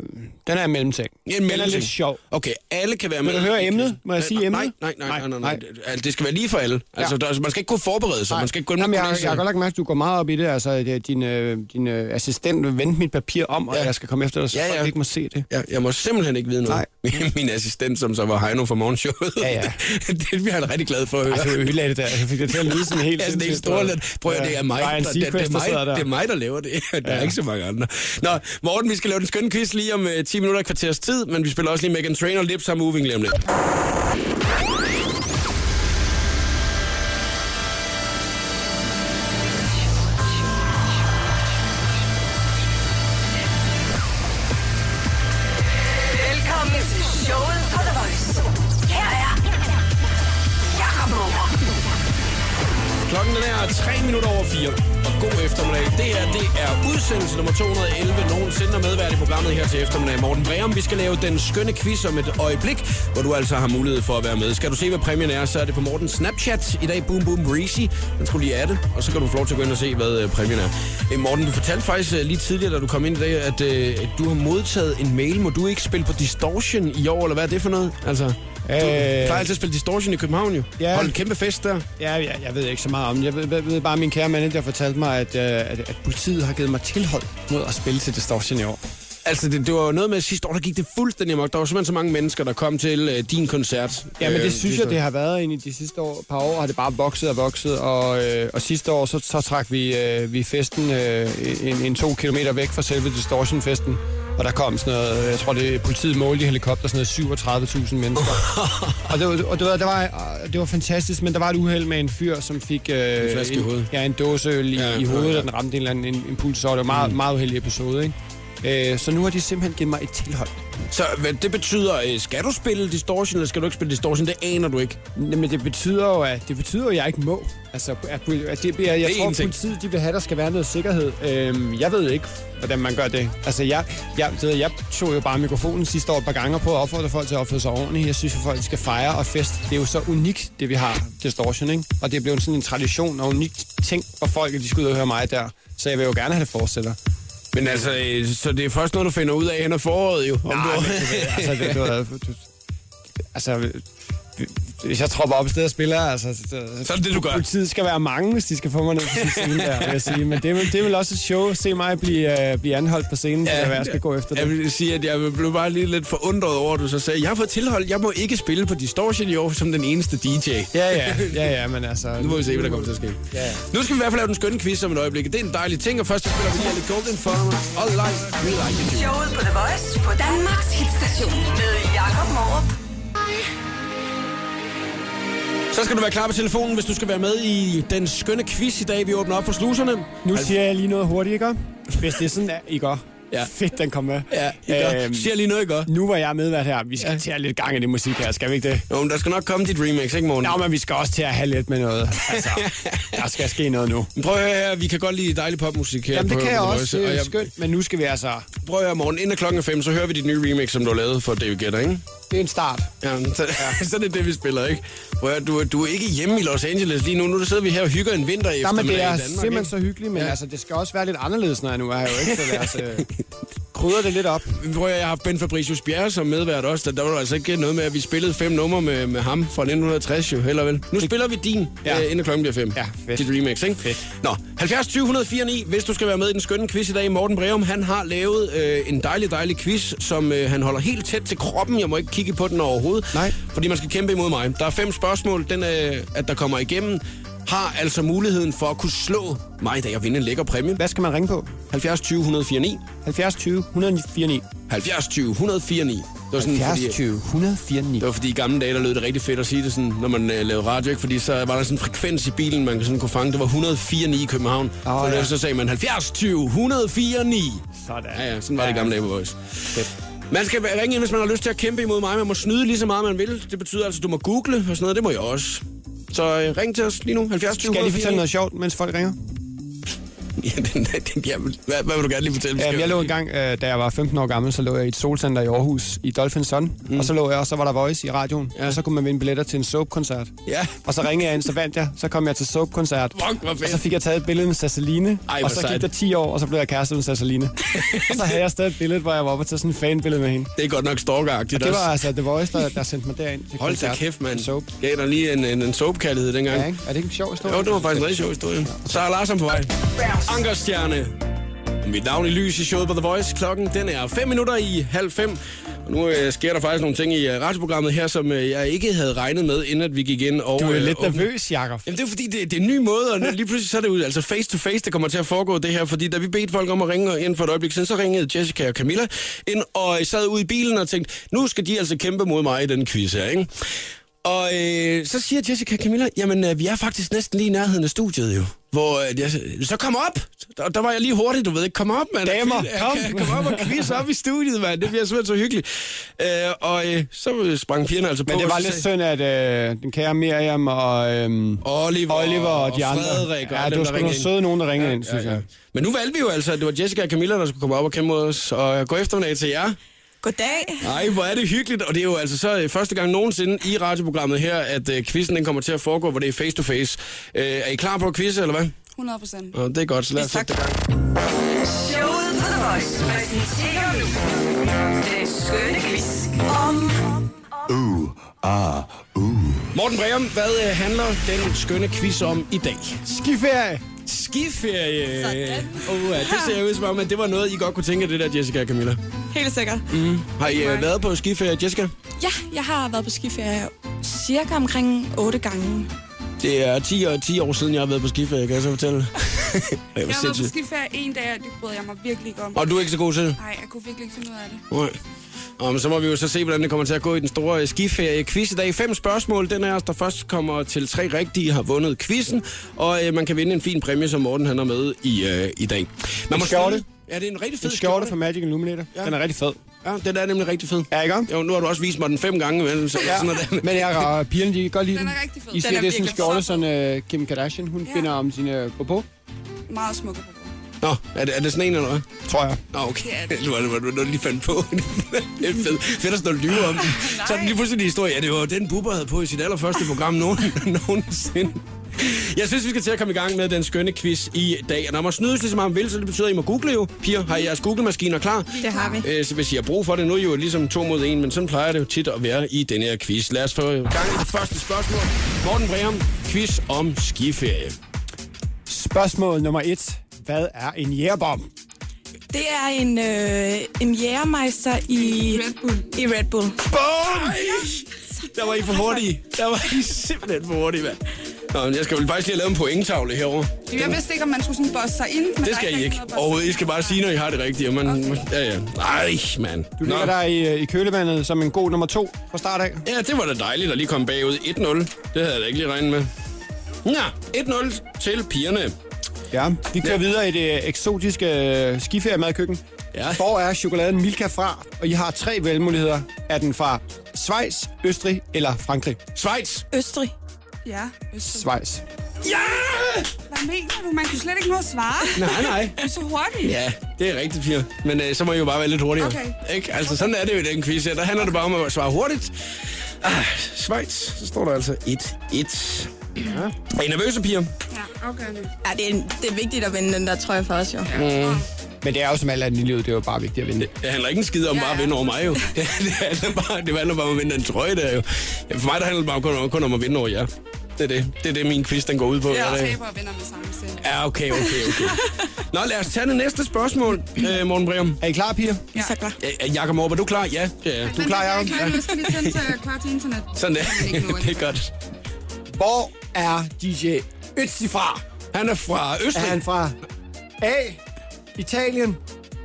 Speaker 2: Den er en mellemting.
Speaker 1: En
Speaker 2: Den er
Speaker 1: mellemting.
Speaker 2: lidt sjov.
Speaker 1: Okay, alle kan være med.
Speaker 2: du høre emnet? Må jeg sige
Speaker 1: nej,
Speaker 2: emnet?
Speaker 1: Nej, nej, nej, nej, nej.
Speaker 2: Nej,
Speaker 1: nej. Altså, det skal være lige for alle. Altså,
Speaker 2: Ja.
Speaker 1: der, man skal ikke kunne forberede sig. Man skal ikke gå ind
Speaker 2: Jamen,
Speaker 1: med
Speaker 2: jeg, jeg,
Speaker 1: kulissen.
Speaker 2: har godt lagt mærke, at du går meget op i det. Altså, det er din, øh, din øh, assistent vil vente mit papir om, og
Speaker 1: Ja.
Speaker 2: ja. jeg skal komme efter dig, så
Speaker 1: Ja,
Speaker 2: ja, ja.
Speaker 1: ja.
Speaker 2: folk ikke må se det.
Speaker 1: jeg, jeg må simpelthen ikke vide noget. Nej. <laughs> Min assistent, som så var Heino fra morgenshowet,
Speaker 2: Ja, ja.
Speaker 1: <laughs> det bliver han rigtig glad for at høre. Altså,
Speaker 2: Ej, du ødelagde det der. Jeg fik det til at
Speaker 1: <laughs>
Speaker 2: lyde sådan <laughs> helt
Speaker 1: Ja, sådan helt
Speaker 2: sindssygt. altså.
Speaker 1: storladt. Prøv at høre, det er mig,
Speaker 2: Ja, Ryan
Speaker 1: der, det, det, er
Speaker 2: Seacrest, der sidder
Speaker 1: mig,
Speaker 2: der.
Speaker 1: det er mig, der laver det. <laughs> Der er ikke så mange andre. Nå, Morten, vi skal lave den skønne quiz lige om øh, 10 minutter og kvarters tid, men vi spiller også lige Megan Trainor, Lips og Moving lige om lidt.
Speaker 6: Velkommen til showet på The Voice. Her er Jakob Morup.
Speaker 1: Klokken den er 3 minutter over 4. Og god eftermiddag. Det her, det er udsendelse nummer 211 nogensinde og medvært i programmet her til eftermiddag. Morten Breum, vi skal lave den skønne quiz om et øjeblik, hvor du altså har mulighed for at være med. Skal du se, hvad præmien er, så er det på Mortens Snapchat. I dag Boom Boom Breezy. Den skulle lige af det, og så kan du få lov til at gå ind og se, hvad øh, præmien er. Øh, Morten, du fortalte faktisk øh, lige tidligere, da du kom ind i dag, at øh, du har modtaget en mail. Må du ikke spille på Distortion i år, eller hvad er det for noget? Altså, øh... du plejer altid at spille Distortion i København jo.
Speaker 2: Ja.
Speaker 1: Hold en kæmpe fest der.
Speaker 2: Ja, jeg, jeg ved ikke så meget om det. Jeg ved, ved, ved bare, at min kære manager fortalte mig, at, øh, at, at politiet har givet mig tilhold mod at spille til Distortion i år.
Speaker 1: Altså, det, det var jo noget med, at sidste år, der gik det fuldstændig amok. Der var simpelthen så mange mennesker, der kom til øh, din koncert.
Speaker 2: Ja, men
Speaker 1: Øh,
Speaker 2: det synes jeg, det har været ind i de sidste år, par år, har det bare vokset og vokset, og, øh, og sidste år, så, så trak vi, øh, vi festen øh, en, en to kilometer væk fra selve Distortion-festen,
Speaker 7: Og der kom sådan noget, jeg tror det politiet målte i helikopter, sådan noget 37.000 mennesker.
Speaker 1: <laughs>
Speaker 7: og det, var, og det, var, der var, det var fantastisk, men der var et uheld med en fyr, som fik øh, en,
Speaker 1: flaske i hovedet.
Speaker 7: Ja, en dåseøl i,
Speaker 1: Ja,
Speaker 7: ja, i
Speaker 1: ja, ja.
Speaker 7: hovedet,
Speaker 1: Mm.
Speaker 7: og den ramte en eller anden impuls, så det var en meget, meget uheldig episode, ikke? Øh, så nu har de simpelthen givet mig et tilhold.
Speaker 1: Så hvad det betyder, øh, skal du spille distortion, eller skal du ikke spille distortion? Det aner du ikke.
Speaker 7: Jamen, det betyder jo, at, det betyder jo, at jeg ikke må. Altså, at, poli- at det, jeg, jeg
Speaker 1: Det er
Speaker 7: tror,
Speaker 1: en
Speaker 7: at
Speaker 1: ting.
Speaker 7: politiet de vil have, der skal være noget sikkerhed. Øhm, jeg ved ikke, hvordan man gør det. Altså, jeg, jeg, det ved, jeg tog jo bare mikrofonen sidste år et par gange på at opfordre folk til at opføre sig ordentligt. Jeg synes, at folk skal fejre og fest. Det er jo så unikt, det vi har, distortion, ikke? Og det er blevet sådan en tradition og unik ting for folk, at de skal ud og høre mig der. Så jeg vil jo gerne have det fortsætter.
Speaker 1: Men altså, øh, så det er først noget, du finder ud af hen ad foråret, jo. Om
Speaker 7: Nej,
Speaker 1: du...
Speaker 7: men du ved, altså, det, du, ved, du, altså, hvis jeg tropper op et sted og spiller, altså,
Speaker 1: Så er det det, du gør.
Speaker 7: Politiet skal være mange, hvis de skal få mig ned på sin scene der, vil jeg sige. Men det er, vel- det er vel også et show, se mig blive, øh, blive anholdt på scenen, ja, hvad jeg skal gå efter
Speaker 1: Jeg
Speaker 7: det.
Speaker 1: vil sige, at jeg blev bare lige lidt forundret over, at du så sagde, jeg har fået tilhold, jeg må ikke spille på Distortion i år som den eneste DJ.
Speaker 7: Ja, ja, ja, ja, men altså...
Speaker 1: <laughs> Nu må vi se, hvad der kommer til at ske.
Speaker 7: Ja, ja.
Speaker 1: Nu skal vi i hvert fald lave den skønne quiz om et øjeblik. Det er en dejlig ting, og først så spiller vi lige lidt Golden Farmer. All life, we like it.
Speaker 6: Showet på The Voice på Danmarks hitstation med Jakob Morup.
Speaker 1: Så skal du være klar på telefonen, hvis du skal være med i den skønne quiz i dag. Vi åbner op for sluserne.
Speaker 7: Nu siger jeg lige noget hurtigt, ikke? Hvis det er sådan, at I går.
Speaker 1: Ja.
Speaker 7: Fedt, den kom med.
Speaker 1: Ja, I gør.
Speaker 7: Øhm,
Speaker 1: Siger lige noget, I gør.
Speaker 7: nu var jeg medvært her. Vi skal til at have lidt gang i det musik her, skal vi ikke det?
Speaker 1: Jo, men der skal nok komme dit remix, ikke, Morten?
Speaker 7: Nå, men vi skal også til at have lidt med noget.
Speaker 1: <laughs>
Speaker 7: Altså, der skal ske noget nu.
Speaker 1: Prøv at høre her, vi kan godt lide dejlig popmusik her.
Speaker 7: Jamen, det
Speaker 1: på-
Speaker 7: kan jeg
Speaker 1: på
Speaker 7: også.
Speaker 1: Voice,
Speaker 7: Det
Speaker 1: og
Speaker 7: er
Speaker 1: jeg-
Speaker 7: skønt. Men nu skal vi altså...
Speaker 1: Prøv at høre, Morten, inden klokken er fem, så hører vi dit nye remix, som du har lavet for David Guetta, ikke?
Speaker 7: Det er en start.
Speaker 1: Ja, <laughs> så, ja. så det er det, vi spiller, ikke? Prøv at høre, du, er- du er ikke hjemme i Los Angeles lige nu. Nu sidder vi her og hygger en vinter
Speaker 7: Nej, men
Speaker 1: eftermiddag
Speaker 7: det er
Speaker 1: i Danmark,
Speaker 7: simpelthen
Speaker 1: ikke?
Speaker 7: så hyggeligt, men
Speaker 1: Ja.
Speaker 7: ja. altså, det skal også være lidt anderledes, når jeg nu er her jo ikke. Så altså, <laughs> krydder det lidt op.
Speaker 1: Men Prøv at høre, jeg har haft Ben Fabricius Bjerre som medvært også. Der, der var der altså ikke noget med, at vi spillede fem numre med, med ham fra 1960 jo, heller vel. Nu spiller vi din, ja.
Speaker 7: Ja.
Speaker 1: øh, inden klokken bliver fem.
Speaker 7: Ja, fedt.
Speaker 1: Dit remix, ikke?
Speaker 7: Fedt.
Speaker 1: Nå, 70 20 104 9, hvis du skal være med i den skønne quiz i dag. Morten Breum, han har lavet øh, en dejlig, dejlig quiz, som øh, han holder helt tæt til kroppen. Jeg må ikke kigge på den overhovedet.
Speaker 7: Nej.
Speaker 1: Fordi man skal kæmpe imod mig. Der er fem spørgsmål, den, øh, at der kommer igennem har altså muligheden for at kunne slå mig i dag og vinde en lækker præmie.
Speaker 7: Hvad skal man ringe på?
Speaker 1: 70 20 104 9.
Speaker 7: 70 20 104 9.
Speaker 1: 70 20 104 9. Det var sådan,
Speaker 7: 70
Speaker 1: fordi-
Speaker 7: 20 104 9.
Speaker 1: det var fordi i gamle dage, der lød det rigtig fedt at sige det sådan, når man øh, lavede radio, ikke? Fordi så var der sådan en frekvens i bilen, man sådan kunne fange. Det var 104.9 i København.
Speaker 7: Åh,
Speaker 1: så,
Speaker 7: ja.
Speaker 1: så sagde man 70 20 104.9.
Speaker 7: Sådan.
Speaker 1: Ja, ja, sådan var det i gamle dage på Voice.
Speaker 7: Fedt.
Speaker 1: Man skal ringe ind, hvis man har lyst til at kæmpe imod mig. Man må snyde lige så meget, man vil. Det betyder altså, at du må google og sådan noget. Det må jeg også. Så øh, ring til os lige nu. 70 20
Speaker 7: Skal jeg lige fortælle noget sjovt, mens folk ringer?
Speaker 1: <laughs> Ja, den, den, ja, hvad, hvad, vil du gerne lige fortælle? Vi skal
Speaker 7: Ja,
Speaker 1: jo-
Speaker 7: Øhm, jeg lå engang, øh, da jeg var 15 år gammel, så lå jeg i et solcenter i Aarhus i Dolphin Sun. Mm. Og så lå jeg, og så var der Voice i radioen.
Speaker 1: Ja.
Speaker 7: Ja. Og så kunne man vinde billetter til en soap-koncert.
Speaker 1: Ja.
Speaker 7: Og så ringede jeg ind, så vandt jeg. Så kom jeg til soap-koncert.
Speaker 1: Fuck, hvor fedt.
Speaker 7: Og så fik jeg taget et billede med Sasseline.
Speaker 1: Ej, hvor
Speaker 7: og så
Speaker 1: sejt.
Speaker 7: gik der 10 år, og så blev jeg kæreste med Sasseline. og så havde jeg stadig et billede, hvor jeg var oppe og tage sådan en fanbillede med hende.
Speaker 1: Det er godt nok stalkeragtigt.
Speaker 7: Det
Speaker 1: også.
Speaker 7: var altså The Voice, der, der sendte mig derind. Til
Speaker 1: Hold da
Speaker 7: koncert.
Speaker 1: kæft, mand.
Speaker 7: Soap.
Speaker 1: Gav dig lige en, en, en soapkærlighed dengang.
Speaker 7: Ja, ikke? Er det ikke en sjov historie?
Speaker 1: Jo, det var faktisk en rigtig sjov historie. Så er Larsen på vej. Ankerstjerne. Mit navn i lys i showet på The Voice. Klokken den er 5 minutter i halv fem. Og nu øh, sker der faktisk nogle ting i øh, radioprogrammet her, som øh, jeg ikke havde regnet med, inden at vi gik ind og...
Speaker 7: Du er
Speaker 1: øh,
Speaker 7: lidt
Speaker 1: åbnede-
Speaker 7: nervøs, Jakob.
Speaker 1: Jamen, det er fordi, det, det er en ny måde, og lige pludselig så er det ud, altså face to face, der kommer til at foregå det her, fordi da vi bedte folk om at ringe ind for et øjeblik siden, så ringede Jessica og Camilla ind, og øh, sad ude i bilen og tænkte, nu skal de altså kæmpe mod mig i den quiz her, ikke? Og øh, så siger Jessica og Camilla, jamen øh, vi er faktisk næsten lige i nærheden af studiet jo. Hvor øh, jeg, sagde, så kom op! Og der var jeg lige hurtigt, du ved ikke, kom op, mand.
Speaker 7: Damer,
Speaker 1: Quiz-
Speaker 7: kom.
Speaker 1: Ja, kom op og quiz op i studiet, mand. Det bliver simpelthen så hyggeligt. Øh, og øh, så sprang pigerne altså på.
Speaker 7: Men det
Speaker 1: og
Speaker 7: var
Speaker 1: så
Speaker 7: lidt
Speaker 1: sagde-
Speaker 7: synd, at øh, den kære Miriam og øhm,
Speaker 1: Oliver,
Speaker 7: Oliver og de
Speaker 1: og
Speaker 7: andre...
Speaker 1: Frederik og
Speaker 7: ja,
Speaker 1: alle
Speaker 7: det
Speaker 1: dem, der
Speaker 7: var
Speaker 1: ringede
Speaker 7: sgu nogle
Speaker 1: ind.
Speaker 7: søde nogen, der ringede ind, synes jeg.
Speaker 1: Men nu valgte vi jo altså, at det var Jessica og Camilla, der skulle komme op og kæmpe mod os, og gå eftermiddag til jer.
Speaker 5: Goddag.
Speaker 1: Ej, hvor er det hyggeligt, og det er jo altså så øh, første gang nogensinde i radioprogrammet her, at øh, quizzen den kommer til at foregå, hvor det er face to face. Øh, er I klar på at quizze, eller hvad?
Speaker 5: 100 procent.
Speaker 1: Nå, det er godt, så lad os
Speaker 5: Tak.
Speaker 1: sætte det i gang.
Speaker 6: Showet på The Voice præsenterer nu den skønne quiz om
Speaker 1: Morten Breum, hvad øh, handler den skønne quiz om i dag?
Speaker 7: Skiferie!
Speaker 1: Skiferie!
Speaker 5: Sådan.
Speaker 1: Oh, ja, det ser ud som om, at det var noget, I godt kunne tænke, det der, Jessica og Camilla.
Speaker 5: Helt sikkert.
Speaker 1: Har I øh, været på skiferie, Jessica?
Speaker 5: Ja, jeg har været på skiferie cirka omkring 8 gange. <laughs>
Speaker 1: Det er 10 og 10 år siden, jeg har været på skiferie, kan jeg så fortælle. Ej,
Speaker 5: Jeg
Speaker 1: hvor
Speaker 5: har været på
Speaker 1: sindssygt.
Speaker 5: skiferie en dag, og det brød jeg mig virkelig ikke om.
Speaker 1: Og du er ikke så god til det?
Speaker 5: Nej, jeg kunne virkelig ikke finde ud af det.
Speaker 1: Nej. Og men så må vi jo så se, hvordan det kommer til at gå i den store øh, skiferie quiz i dag. Fem spørgsmål. Den af os, der først kommer til tre rigtige, har vundet quizzen. Og øh, man kan vinde en fin præmie, som Morten han er med i, øh, i dag. Man
Speaker 2: En skjorte.
Speaker 1: stille- Ja, det er en rigtig fed
Speaker 2: En skjorte fra Magic Illuminator. Ja. Den er rigtig fed.
Speaker 1: Ja, den er nemlig rigtig fed.
Speaker 2: Ja, ikke om?
Speaker 1: Jo, nu har du også vist mig den fem gange, men så, ja. sådan er det.
Speaker 2: Men jeg og pigerne, de kan godt lide
Speaker 5: Den er rigtig
Speaker 2: I
Speaker 5: fed. Den
Speaker 2: siger,
Speaker 5: er
Speaker 2: det er sådan en
Speaker 5: virkelig
Speaker 2: skjorte,
Speaker 5: fed.
Speaker 2: som øh, Kim Kardashian, hun
Speaker 5: Ja.
Speaker 2: finder om sine øh, på,
Speaker 5: Meget smukke på
Speaker 1: Nå, er det, er det sådan en eller hvad?
Speaker 2: tror jeg.
Speaker 1: Nå, okay.
Speaker 5: Ja,
Speaker 1: Det
Speaker 5: det-
Speaker 1: var det, du lige fandt på. <laughs> det er fedt. Fedt at stå og lyve om.
Speaker 8: <laughs>
Speaker 1: Så er det lige pludselig en historie. Ja, det var den Bubber havde på i sit allerførste program nogen, <laughs> nogensinde. Jeg synes, vi skal til at komme i gang med den skønne quiz i dag. Og når man snydes lige så meget man vil, så det betyder, at I må google jo. Piger, har I jeres Google-maskiner klar?
Speaker 8: Det har vi.
Speaker 1: Øh, Så hvis I har brug for det, nu er I jo ligesom to mod en, men sådan plejer det jo tit at være i den her quiz. Lad os få gang i det første spørgsmål. Morten Breum, quiz om skiferie.
Speaker 2: Spørgsmål nummer et. Hvad er en jægerbom?
Speaker 5: Det er en, øh, en jægermeister i Red Bull. I Red Bull.
Speaker 1: Bum! Der var I for hurtige. Der var I simpelthen for hurtige, mand. Nå, men jeg skal vel faktisk lige have lavet en pointtavle herovre.
Speaker 5: Jeg vidste ikke, om man skulle sådan bosse sig ind. men der
Speaker 1: Det
Speaker 5: er
Speaker 1: skal I
Speaker 5: rigtig
Speaker 1: ikke.
Speaker 5: noget at bosse
Speaker 1: Overhovedet, I
Speaker 5: sig
Speaker 1: skal
Speaker 5: ind.
Speaker 1: bare sige, når I har det rigtige. Man, ja, ja. Ej, mand.
Speaker 2: Du ligger der i, øh, i kølevandet som en god nummer to fra start af.
Speaker 1: Ja, det var da dejligt at lige komme bagud 1-0. Det havde jeg da ikke lige regnet med. Nå, 1-0 til pigerne.
Speaker 2: Ja. Vi kører
Speaker 1: Ja.
Speaker 2: videre i det eksotiske øh, skiferimadkøkken.
Speaker 1: Ja.
Speaker 2: Hvor er chokoladen Milka fra? Og I har tre valgmuligheder. Er den fra Schweiz, Østrig eller Frankrig?
Speaker 1: Schweiz.
Speaker 5: Østrig. Ja, Østrig.
Speaker 2: Schweiz.
Speaker 1: Ja!
Speaker 5: Hvad mener du? Man kunne slet ikke nå at svare.
Speaker 1: Nej, nej.
Speaker 5: Du er så hurtig.
Speaker 1: Ja, det er rigtigt, piger. Men øh, så må I jo bare være lidt hurtigere.
Speaker 5: Okay.
Speaker 1: Ikke? Altså, sådan er det jo i den quiz her. Der handler det bare om at svare hurtigt. Ah, Schweiz, så står der altså 1-1. Ja. Er I nervøse, piger?
Speaker 5: Ja, okay.
Speaker 8: Ja, det er, det er vigtigt at vinde den der trøje for os, jo.
Speaker 2: Men det er jo som alt andet i livet, det er jo bare vigtigt at vinde.
Speaker 1: Det handler ikke en skid om
Speaker 5: Ja,
Speaker 1: bare at
Speaker 5: ja.
Speaker 1: vinde over mig, jo. Det, <laughs> det, handler, bare, det handler bare om at vinde den trøje der, jo. For mig, der handler det bare kun om, kun om at vinde over jer. Det er det. Det er det, min quiz, den går ud på.
Speaker 5: Jeg
Speaker 1: hver dag.
Speaker 5: taber og vinder med samme sæt.
Speaker 1: Ja, okay, okay, okay. Nå, lad os tage det næste spørgsmål, øh, Morten Breum.
Speaker 2: Er I klar, piger?
Speaker 5: Ja. Så klar.
Speaker 1: Øh, Jakob Morp, er du klar? Ja, det er jeg.
Speaker 2: Du er klar, Jacob? Ja.
Speaker 5: Nu skal vi sende til kvart til internet.
Speaker 1: Sådan det. <laughs> det er godt.
Speaker 2: Hvor er DJ Ötzi fra?
Speaker 1: Han er fra
Speaker 2: Er
Speaker 1: Østrig.
Speaker 2: han fra A. Italien,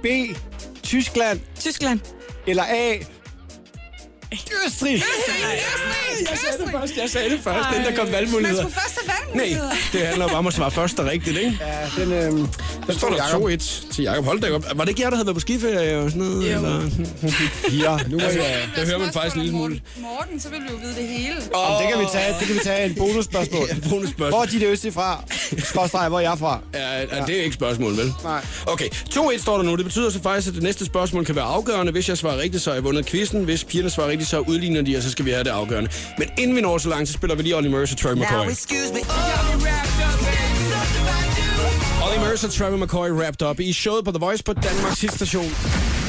Speaker 2: B. Tyskland
Speaker 5: Tyskland.
Speaker 2: eller A. Østrig?
Speaker 1: Jeg sagde det først, jeg sagde det først, inden der kom
Speaker 5: Man
Speaker 1: valgmuligheder.
Speaker 5: skulle først have
Speaker 1: Nej,
Speaker 5: valgmuligheder.
Speaker 1: det handler bare om at svare først og rigtigt, ikke?
Speaker 2: Ja, den, øhm,
Speaker 1: Så står der 2-1 til Jakob. Hold da op. Var det ikke jer, der havde været på skiferie og sådan noget? Eller?
Speaker 2: Ja, nu er
Speaker 1: Altså,
Speaker 2: jeg...
Speaker 1: det hører man faktisk en lille smule.
Speaker 5: Morten, så vil du jo vide det hele.
Speaker 2: Om det kan vi tage, det kan vi tage en bonusspørgsmål.
Speaker 1: Ja, bonusspørgsmål.
Speaker 2: Hvor er dit østrig fra? Skorstrej, hvor er jeg fra?
Speaker 1: Ja, ja, det er ikke et spørgsmål, vel?
Speaker 2: Nej.
Speaker 1: Okay, 2-1 står der nu. Det betyder så faktisk, at det næste spørgsmål kan være afgørende. Hvis jeg svarer rigtigt, så har jeg vundet quizzen. Hvis pigerne svarer rigtigt, så udligner de, og så skal vi have det afgørende. Men inden vi når så langt, så spiller vi lige Olly Murs og Troy McCoy. Olly Murs og Trevor McCoy wrapped up i showet på The Voice på Danmarks hitstation.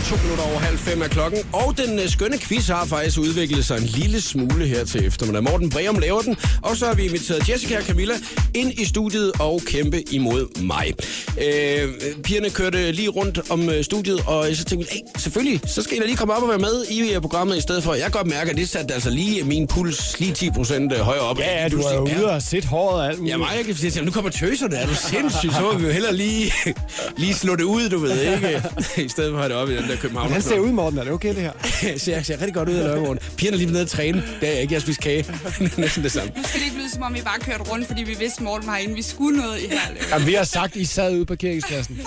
Speaker 1: To minutter over halv fem af klokken. Og den øh, skønne quiz har faktisk udviklet sig en lille smule her til eftermiddag. Morten Breum laver den, og så har vi inviteret Jessica og Camilla ind i studiet og kæmpe imod mig. Øh, pigerne kørte lige rundt om øh, studiet, og så tænkte vi, hey, selvfølgelig, så skal I da lige komme op og være med i øh, programmet i stedet for. Jeg kan godt mærke, at det satte altså lige min puls lige 10 procent øh, højere op.
Speaker 2: Ja, du er jo ude og sætte håret og alt muligt.
Speaker 1: Ja, mig, jeg kan sige til ham, nu kommer tøserne, er du sindssyg? Så må vi jo hellere lige, lige slå det ud, du ved, ikke? I stedet for at have det op i den der København.
Speaker 2: Han ser ud, Morten. Er det okay, det her?
Speaker 1: <laughs> ser, ser rigtig godt ud i lørdagen. Pigerne er lige nede at træne. Det er jeg ikke, jeg har spist kage. <laughs> Næsten det samme.
Speaker 5: Nu skal det ikke lyde, som om vi bare kørte rundt, fordi vi vidste, Morten var inde. Vi skulle noget i her løb.
Speaker 2: Jamen, vi har sagt, I sad ude på parkeringspladsen.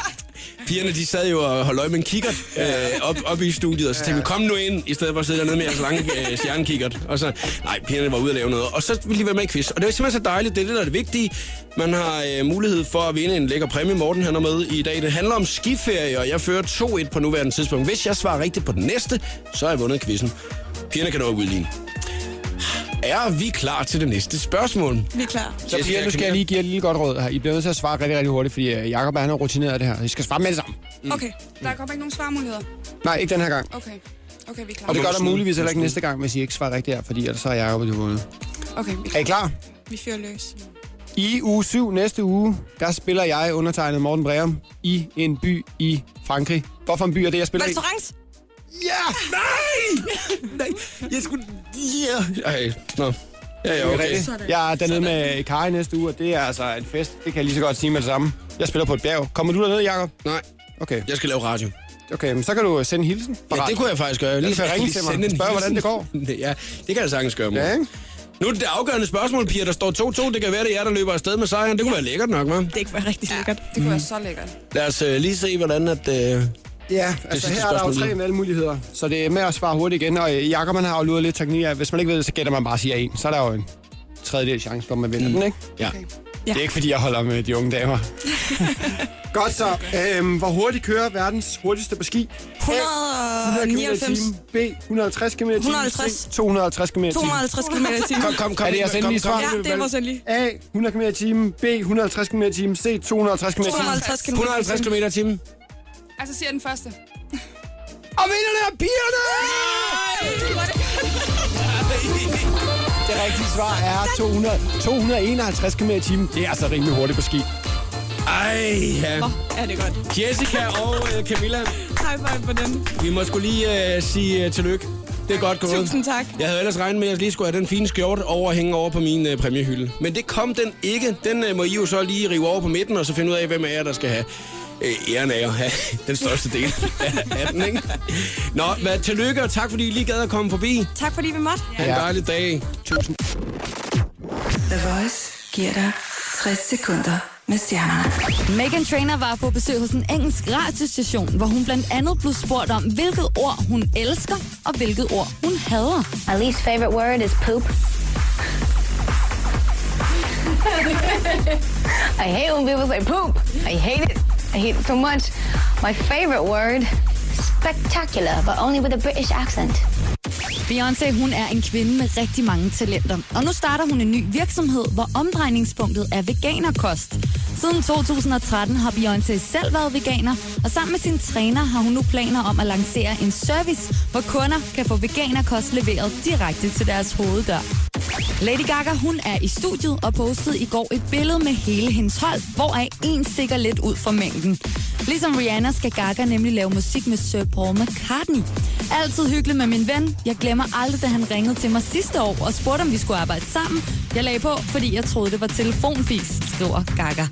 Speaker 1: Pigerne, de sad jo og holdt øje med en kikkert øh, op, op i studiet, og så tænkte vi, kom nu ind, i stedet for at sidde dernede med jeres lange øh, stjernekikkert. Og så, nej, pigerne var ude at lave noget, og så ville de være med i quiz. Og det var simpelthen så dejligt, det er det, der er det vigtige. Man har øh, mulighed for at vinde en lækker præmie, Morten han er med i dag. Det handler om skiferie, og jeg fører 2-1 på nuværende tidspunkt. Hvis jeg svarer rigtigt på den næste, så har jeg vundet quizzen. Pigerne kan dog udligne. Er vi klar til det næste spørgsmål?
Speaker 5: Vi er klar.
Speaker 2: Så Pia, nu skal jeg lige give jer et lille godt råd her. I bliver nødt til at svare rigtig, rigtig hurtigt, fordi øh, Jacob han er rutineret det her. I skal svare med det samme.
Speaker 5: Okay, der kommer ikke nogen svarmuligheder.
Speaker 2: Nej, ikke den her gang.
Speaker 5: Okay. Okay, vi er klar.
Speaker 2: Og det gør
Speaker 1: Må
Speaker 2: der
Speaker 1: snyde.
Speaker 2: muligvis heller ikke
Speaker 1: Må
Speaker 2: næste gang, hvis I ikke svarer rigtigt her, fordi ellers så er Jacob det vundet.
Speaker 5: Okay, vi er
Speaker 2: Er I
Speaker 5: klar.
Speaker 2: klar?
Speaker 5: Vi fører løs.
Speaker 2: I uge 7 næste uge, der spiller jeg undertegnet Morten Breum i en by i Frankrig. Hvorfor en by er det, jeg spiller i?
Speaker 5: Restaurant?
Speaker 1: Ja! Nej! Nej, jeg skulle... Ja! Ej, nå. Ja, ja, okay.
Speaker 2: Jeg er dernede med Kari næste uge, og det er altså en fest. Det kan jeg lige så godt sige med det samme. Jeg spiller på et bjerg. Kommer du derned, Jacob?
Speaker 1: Nej,
Speaker 2: Okay,
Speaker 1: jeg skal lave radio.
Speaker 2: okay, men så kan du sende en hilsen.
Speaker 1: Ja, det kunne jeg faktisk gøre. Jeg
Speaker 2: Ellers vil jeg ringe til mig.
Speaker 1: sende en
Speaker 2: Spørg, hvordan det
Speaker 1: hilsen. <laughs> ja, det kan jeg sagtens gøre, mor.
Speaker 2: Ja, ikke?
Speaker 1: Nu er det det afgørende spørgsmål, Pia. Der står 2-2. Det kan være, det er jer, der løber afsted med sejren. Det kunne være lækkert nok, hva'?
Speaker 5: Det kunne være rigtig lækkert.
Speaker 8: Det kunne være så lækkert.
Speaker 1: Lad os øh, lige se, hvordan at... Øh...
Speaker 2: Ja, altså
Speaker 1: sidste
Speaker 2: her er der jo
Speaker 1: spørgsmål
Speaker 2: tre
Speaker 1: lige.
Speaker 2: valgmuligheder, så det er med at svare hurtigt igen. Og øh, Jakob, han har jo luret lidt teknik af. Hvis man ikke ved det, så gætter man bare og siger en. Så er der jo en tredjedel chance for, at man vinder mm. den, ikke?
Speaker 1: Ja.
Speaker 2: Ja. Det er ikke, fordi jeg holder med de unge
Speaker 5: <laughs>
Speaker 2: damer. Godt så. Øhm, hvor hurtigt kører verdens hurtigste på ski?
Speaker 5: 199,
Speaker 2: B, 160 km
Speaker 5: 150.
Speaker 2: 250 km
Speaker 5: 250 km i timen.
Speaker 1: Kom, kom, kom.
Speaker 2: Er det jeres endelige svar?
Speaker 5: Ja, det er vores endelige.
Speaker 2: A, 100 km i timen. B, 150 km i timen. C, 250 km i timen.
Speaker 5: 250 km
Speaker 1: 150 km i timen.
Speaker 9: Altså siger den første.
Speaker 1: Og vinderne er pigerne!
Speaker 2: Det rigtige svar er 200, 251 km i timen. Det er altså rimelig hurtigt på ski.
Speaker 1: Ej, ja.
Speaker 5: Ja, det er godt.
Speaker 1: Jessica og øh, Camilla,
Speaker 5: High five på den.
Speaker 1: vi må skulle lige øh, sige øh, tillykke. Det er godt gået.
Speaker 5: Tusind tak.
Speaker 1: Jeg havde ellers regnet med, at jeg lige skulle have den fine skjort over og hænge over på min øh, præmiehylde. Men det kom den ikke. Den øh, må I jo så lige rive over på midten, og så finde ud af, hvem af jer, der skal have øh, æren af at have <laughs> den største del af, af den, ikke? Nå, hvad, tillykke, og tak fordi I lige gad at komme forbi.
Speaker 5: Tak fordi vi måtte.
Speaker 1: Ha' en dejlig dag. Tusind
Speaker 3: The Voice giver dig 60 sekunder med stjernerne.
Speaker 4: Megan Trainer var på besøg hos en engelsk radiostation, hvor hun blandt andet blev spurgt om, hvilket ord hun elsker og hvilket ord hun hader.
Speaker 10: My least favorite word is poop. I hate when people say poop. I hate it. I hate it so much. My favorite word, spectacular, but only with a British accent.
Speaker 4: Beyoncé, hun er en kvinde med rigtig mange talenter. Og nu starter hun en ny virksomhed, hvor omdrejningspunktet er veganerkost. Siden 2013 har Beyoncé selv været veganer, og sammen med sin træner har hun nu planer om at lancere en service, hvor kunder kan få veganerkost leveret direkte til deres hoveddør. Lady Gaga, hun er i studiet og postede i går et billede med hele hendes hold, hvoraf en stikker lidt ud fra mængden. Ligesom Rihanna skal Gaga nemlig lave musik med Sir Paul McCartney. Altid hyggeligt med min ven. Jeg glemmer aldrig, da han ringede til mig sidste år og spurgte, om vi skulle arbejde sammen. Jeg lagde på, fordi jeg troede, det var telefonfis, skriver Gaga.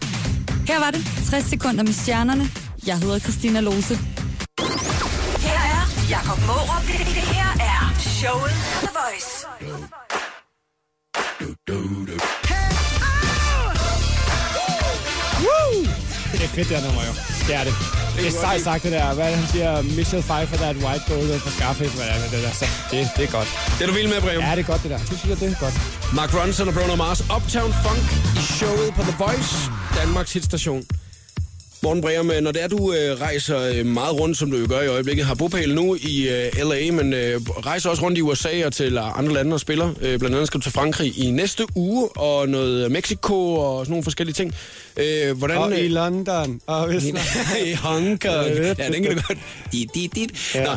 Speaker 4: Her var det 60 sekunder med stjernerne. Jeg hedder Christina Lose.
Speaker 6: Her er Jakob Mårup. Det det her er showet på The Voice. oh!
Speaker 2: Det er fedt, det her nummer jo. Det er det. Det er sejt sagt, det der. Hvad er det, han siger? Michelle Pfeiffer, der er et white gold for Scarface. Hvad er det, det der? Så det, det er godt.
Speaker 1: Det er du vild med, Brev.
Speaker 2: Ja, det er godt, det der. Du synes, jeg, det er godt.
Speaker 1: Mark Ronson og Bruno Mars, Uptown Funk i showet på The Voice, Danmarks hitstation. Morten Breum, øh, når det er, du øh, rejser øh, meget rundt, som du jo gør i øjeblikket, har bopæl nu i øh, L.A., men øh, rejser også rundt i USA og til øh, andre lande og spiller. Øh, blandt andet skal du til Frankrig i næste uge, og noget øh, Mexico og sådan nogle forskellige ting. Øh, hvordan,
Speaker 2: Og i
Speaker 1: øh,
Speaker 2: London. Og hvis
Speaker 1: <laughs> i Hong Kong. Ja, den kan du godt. Dit, dit, dit. Ja. Nå,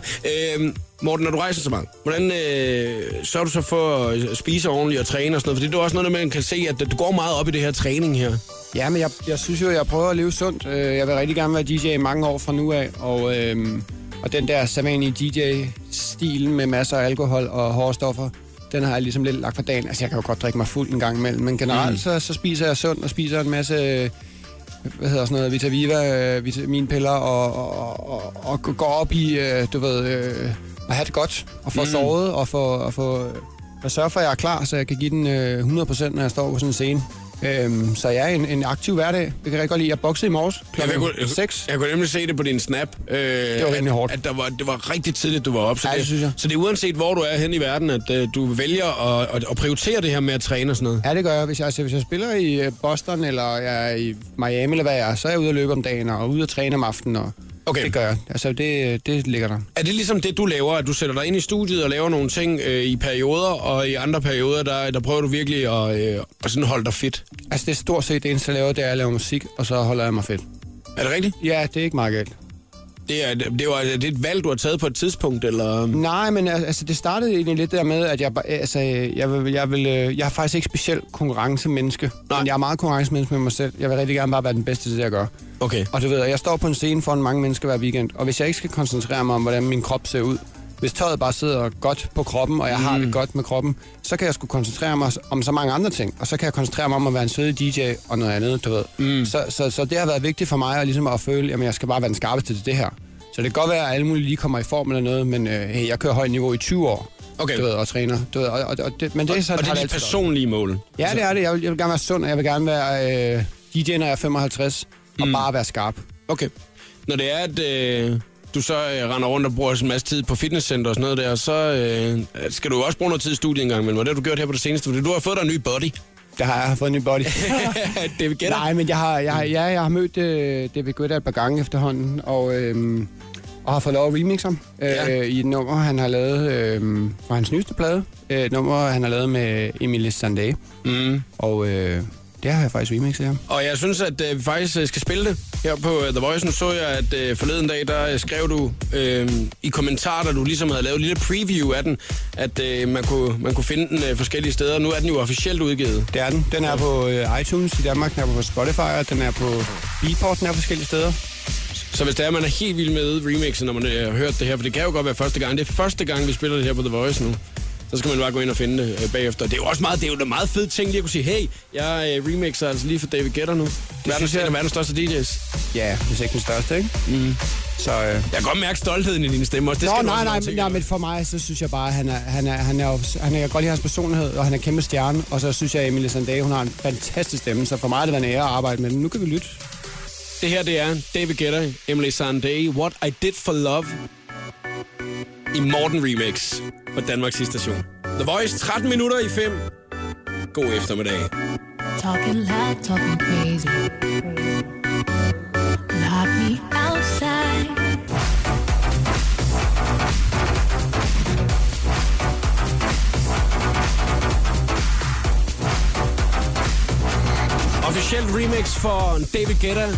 Speaker 1: øh, Morten, når du rejser så meget, hvordan øh, sørger du så for at spise ordentligt og træne og sådan noget? Fordi det er også noget, man kan se, at du går meget op i det her træning her.
Speaker 2: Ja, men jeg, jeg synes jo, jeg prøver at leve sundt. Øh, Jeg vil rigtig gerne være DJ i mange år fra nu af, og, øhm, og den der sædvanlige DJ-stil med masser af alkohol og hårde stoffer, den har jeg ligesom lidt lagt for dagen. Altså, jeg kan jo godt drikke mig fuld en gang imellem, men generelt mm. så, så spiser jeg sundt og spiser en masse øh, hvad hedder sådan noget, Vitaviva, øh, vitaminpiller og, og, og, og går op i, øh, du ved, øh, at have det godt og få mm. sovet og få, og få og sørge for, at jeg er klar, så jeg kan give den øh, 100%, når jeg står på sådan en scene. Øhm, så jeg er en, en aktiv hverdag. Det kan jeg rigtig godt lide. Jeg boxede i morges
Speaker 1: jeg, kunne,
Speaker 2: klokken 6.
Speaker 1: jeg, jeg kunne nemlig se det på din snap. Øh, det
Speaker 2: var rimelig hårdt.
Speaker 1: At, at der var, det var rigtig tidligt, du var op. Så
Speaker 2: Ja, det synes jeg.
Speaker 1: Så det er uanset, hvor du er hen i verden, at øh, du vælger at, at, at prioritere det her med at træne og sådan noget.
Speaker 2: Ja, det gør jeg. Hvis jeg, altså, hvis jeg spiller i øh, Boston, eller jeg er i Miami, eller hvad jeg er, så er jeg ude at løbe om dagen, og ude at træne om aftenen, og
Speaker 1: Okay.
Speaker 2: det gør jeg. Altså, det, det ligger der.
Speaker 1: Er det ligesom det, du laver, at du sætter dig ind i studiet og laver nogle ting øh, i perioder, og i andre perioder, der, der prøver du virkelig at, øh, at sådan holde dig fit?
Speaker 2: Altså, det er stort set det eneste, jeg laver, det er at lave musik, og så holder jeg mig fedt.
Speaker 1: Er det rigtigt?
Speaker 2: Ja, det er ikke meget galt.
Speaker 1: Det er, det, er, jo- er det et valg, du har taget på et tidspunkt, eller...
Speaker 2: Nej, men al- altså, det startede egentlig lidt der med, at jeg, ba- altså, øh, jeg, vil, jeg, vil, øh, jeg er faktisk ikke specielt konkurrencemenneske.
Speaker 1: Nej.
Speaker 2: Men jeg er meget konkurrencemenneske med mig selv. Jeg vil rigtig gerne bare være den bedste til det, jeg gør.
Speaker 1: Okay.
Speaker 2: Og du ved, jeg står på en scene foran mange mennesker hver weekend, og hvis jeg ikke skal koncentrere mig om, hvordan min krop ser ud, Hvis tøjet bare sidder godt på kroppen, og jeg har det godt med kroppen, så kan jeg sgu koncentrere mig om så mange andre ting. Og så kan jeg koncentrere mig om at være en sød DJ og noget andet, du ved. Mm. Så, så, så det har været vigtigt for mig at, ligesom at føle, at jeg skal bare være den skarpeste til det her. Så det kan godt være, at alle mulige lige kommer i form eller noget, men øh, hey, jeg kører højt niveau i 20 år.
Speaker 1: Okay.
Speaker 2: Du ved, og træner. Du ved, og, og, og det, men det, er sådan,
Speaker 1: Og det
Speaker 2: har
Speaker 1: er de
Speaker 2: altid været.
Speaker 1: personlige mål. Altså,
Speaker 2: Ja, det er det. Jeg vil, jeg vil gerne være sund, og jeg vil gerne være øh, DJ, når jeg er 55, mm. og bare være skarp.
Speaker 1: Okay. Når det er, at øh, du så øh, render rundt og bruger en masse tid på fitnesscenter og sådan noget der, så øh, skal du jo også bruge noget tid i studiet engang, men hvad det har du gjort her på det seneste? Fordi du har fået dig en ny
Speaker 2: <laughs>
Speaker 1: body.
Speaker 2: Det har jeg har fået en ny <laughs> body.
Speaker 1: det vil
Speaker 2: Nej, men jeg har, jeg, har- ja, jeg har mødt øh, David Guetta et par gange efterhånden, og, øh, og har fået lov at remixe ham øh,
Speaker 1: Ja.
Speaker 2: ja. i et nummer, han har lavet øh, fra hans nyeste plade. Øh, Et nummer, han har lavet med Emily Sandé.
Speaker 1: Mm.
Speaker 2: Og øh, det har jeg faktisk remixet ham.
Speaker 1: Og jeg synes, at øh, vi faktisk øh, skal spille det. Her på øh, The Voice, nu så jeg, at øh, forleden dag, der øh, skrev du øh, i kommentarer, da du ligesom havde lavet en lille preview af den, at øh, man, kunne, man kunne finde den øh, forskellige steder. Nu er den jo officielt udgivet.
Speaker 2: Det er den. Den er på øh, iTunes i Danmark, den er på Spotify, og den er på Beatport, den er forskellige steder.
Speaker 1: Så hvis det er, man er helt vild med remixen, når man øh, har hørt det her, for det kan jo godt være første gang. Det er første gang, vi spiller det her på The Voice nu. Så skal man bare gå ind og finde det øh, bagefter. Det er jo også meget, det er jo en meget fed ting lige at kunne sige, hey, jeg øh, remixer altså lige for David Guetta nu. Verdens,
Speaker 2: synes jeg-
Speaker 1: jeg... verdens største DJ's.
Speaker 2: Ja, hvis ikke den største, ikke? Mm. Så, øh,
Speaker 1: Jeg kan godt mærke stoltheden i dine stemmer også. Det
Speaker 2: Nå,
Speaker 1: skal du
Speaker 2: nej,
Speaker 1: også
Speaker 2: nej,
Speaker 1: meget
Speaker 2: men,
Speaker 1: tænke
Speaker 2: nej, men for mig, så synes jeg bare, at han er, han er, han er, jo- han er, jeg kan godt lide hans personlighed, og han er kæmpe stjerne, og så synes jeg, at Emilie Sandé, hun har en fantastisk stemme, så for mig har det været en ære at arbejde med den. Nu kan vi lytte.
Speaker 1: Det her, det er David Guetta, Emily Sandé, What I Did For Love i Morten Remix på Danmarks station. The Voice, 13 minutter i 5. God eftermiddag.
Speaker 11: Talking loud, talking crazy. Lock me outside.
Speaker 1: Officielt remix for David Guetta,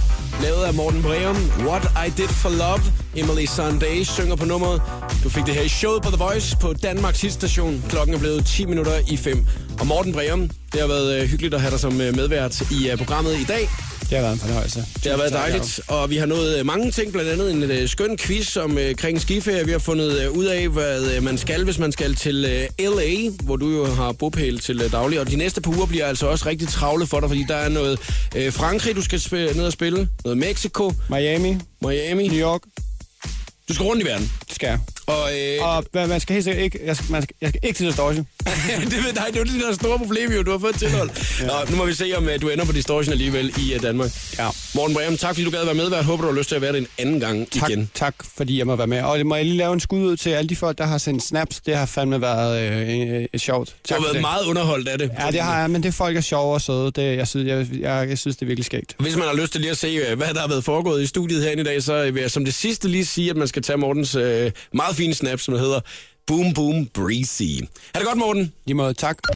Speaker 1: lavet af Morten Breum. What I Did For Love, Emily Sandé synger på nummeret. Du fik det her i showet på The Voice på Danmarks hitstation. Klokken er blevet 10 minutter i 5. Og Morten Breum, det har været øh, hyggeligt at have dig som øh, medvært i øh, programmet i dag.
Speaker 2: Det har været en fornøjelse.
Speaker 1: Det har været
Speaker 2: Tak,
Speaker 1: dejligt, og vi har nået øh, mange ting, blandt andet en øh, skøn quiz om øh, kring skiferie. Vi har fundet øh, ud af, hvad øh, man skal, hvis man skal til øh, LA, hvor du jo har bopæl til øh, daglig. Og de næste par uger bliver altså også rigtig travle for dig, fordi der er noget øh, Frankrig, du skal sp- ned og spille, noget Mexico,
Speaker 2: Miami,
Speaker 1: Miami.
Speaker 2: New York,
Speaker 1: Du skal rundt i verden.
Speaker 2: det skal jeg.
Speaker 1: Og, øh,
Speaker 2: Og man- man skal helt sikkert ikke, jeg skal, man skal, jeg skal ikke til Distortion.
Speaker 1: <laughs> det ved dig, det er jo det der store problem, jo. Du har fået et
Speaker 2: <laughs>
Speaker 1: tilhold. ja. Nå, nu må vi se, om øh, du ender på distortion alligevel i øh, Danmark.
Speaker 2: Ja.
Speaker 1: Morten Breum, tak fordi du gad at være medvært. Håber, du har lyst til at være det en anden gang
Speaker 2: Tak,
Speaker 1: igen.
Speaker 2: tak, fordi jeg må være med. Og det må jeg lige lave en skud ud til alle de folk, der har sendt snaps. Det har fandme været øh, øh, øh, sjovt. Tak
Speaker 1: Du har
Speaker 2: for
Speaker 1: været
Speaker 2: det.
Speaker 1: meget underholdt af det.
Speaker 2: Ja, det har jeg, men det folk er sjove og søde. Det, jeg, synes, jeg, jeg, jeg synes, det er virkelig skægt.
Speaker 1: Hvis man har lyst til lige at se, øh, hvad der har været foregået i studiet herinde i dag, så øh, vil jeg som det sidste lige sige, at man skal tage Mortens øh, meget fine snap, som hedder Boom Boom Breezy. Ha' det godt, Morten.
Speaker 2: Lige måde, tak.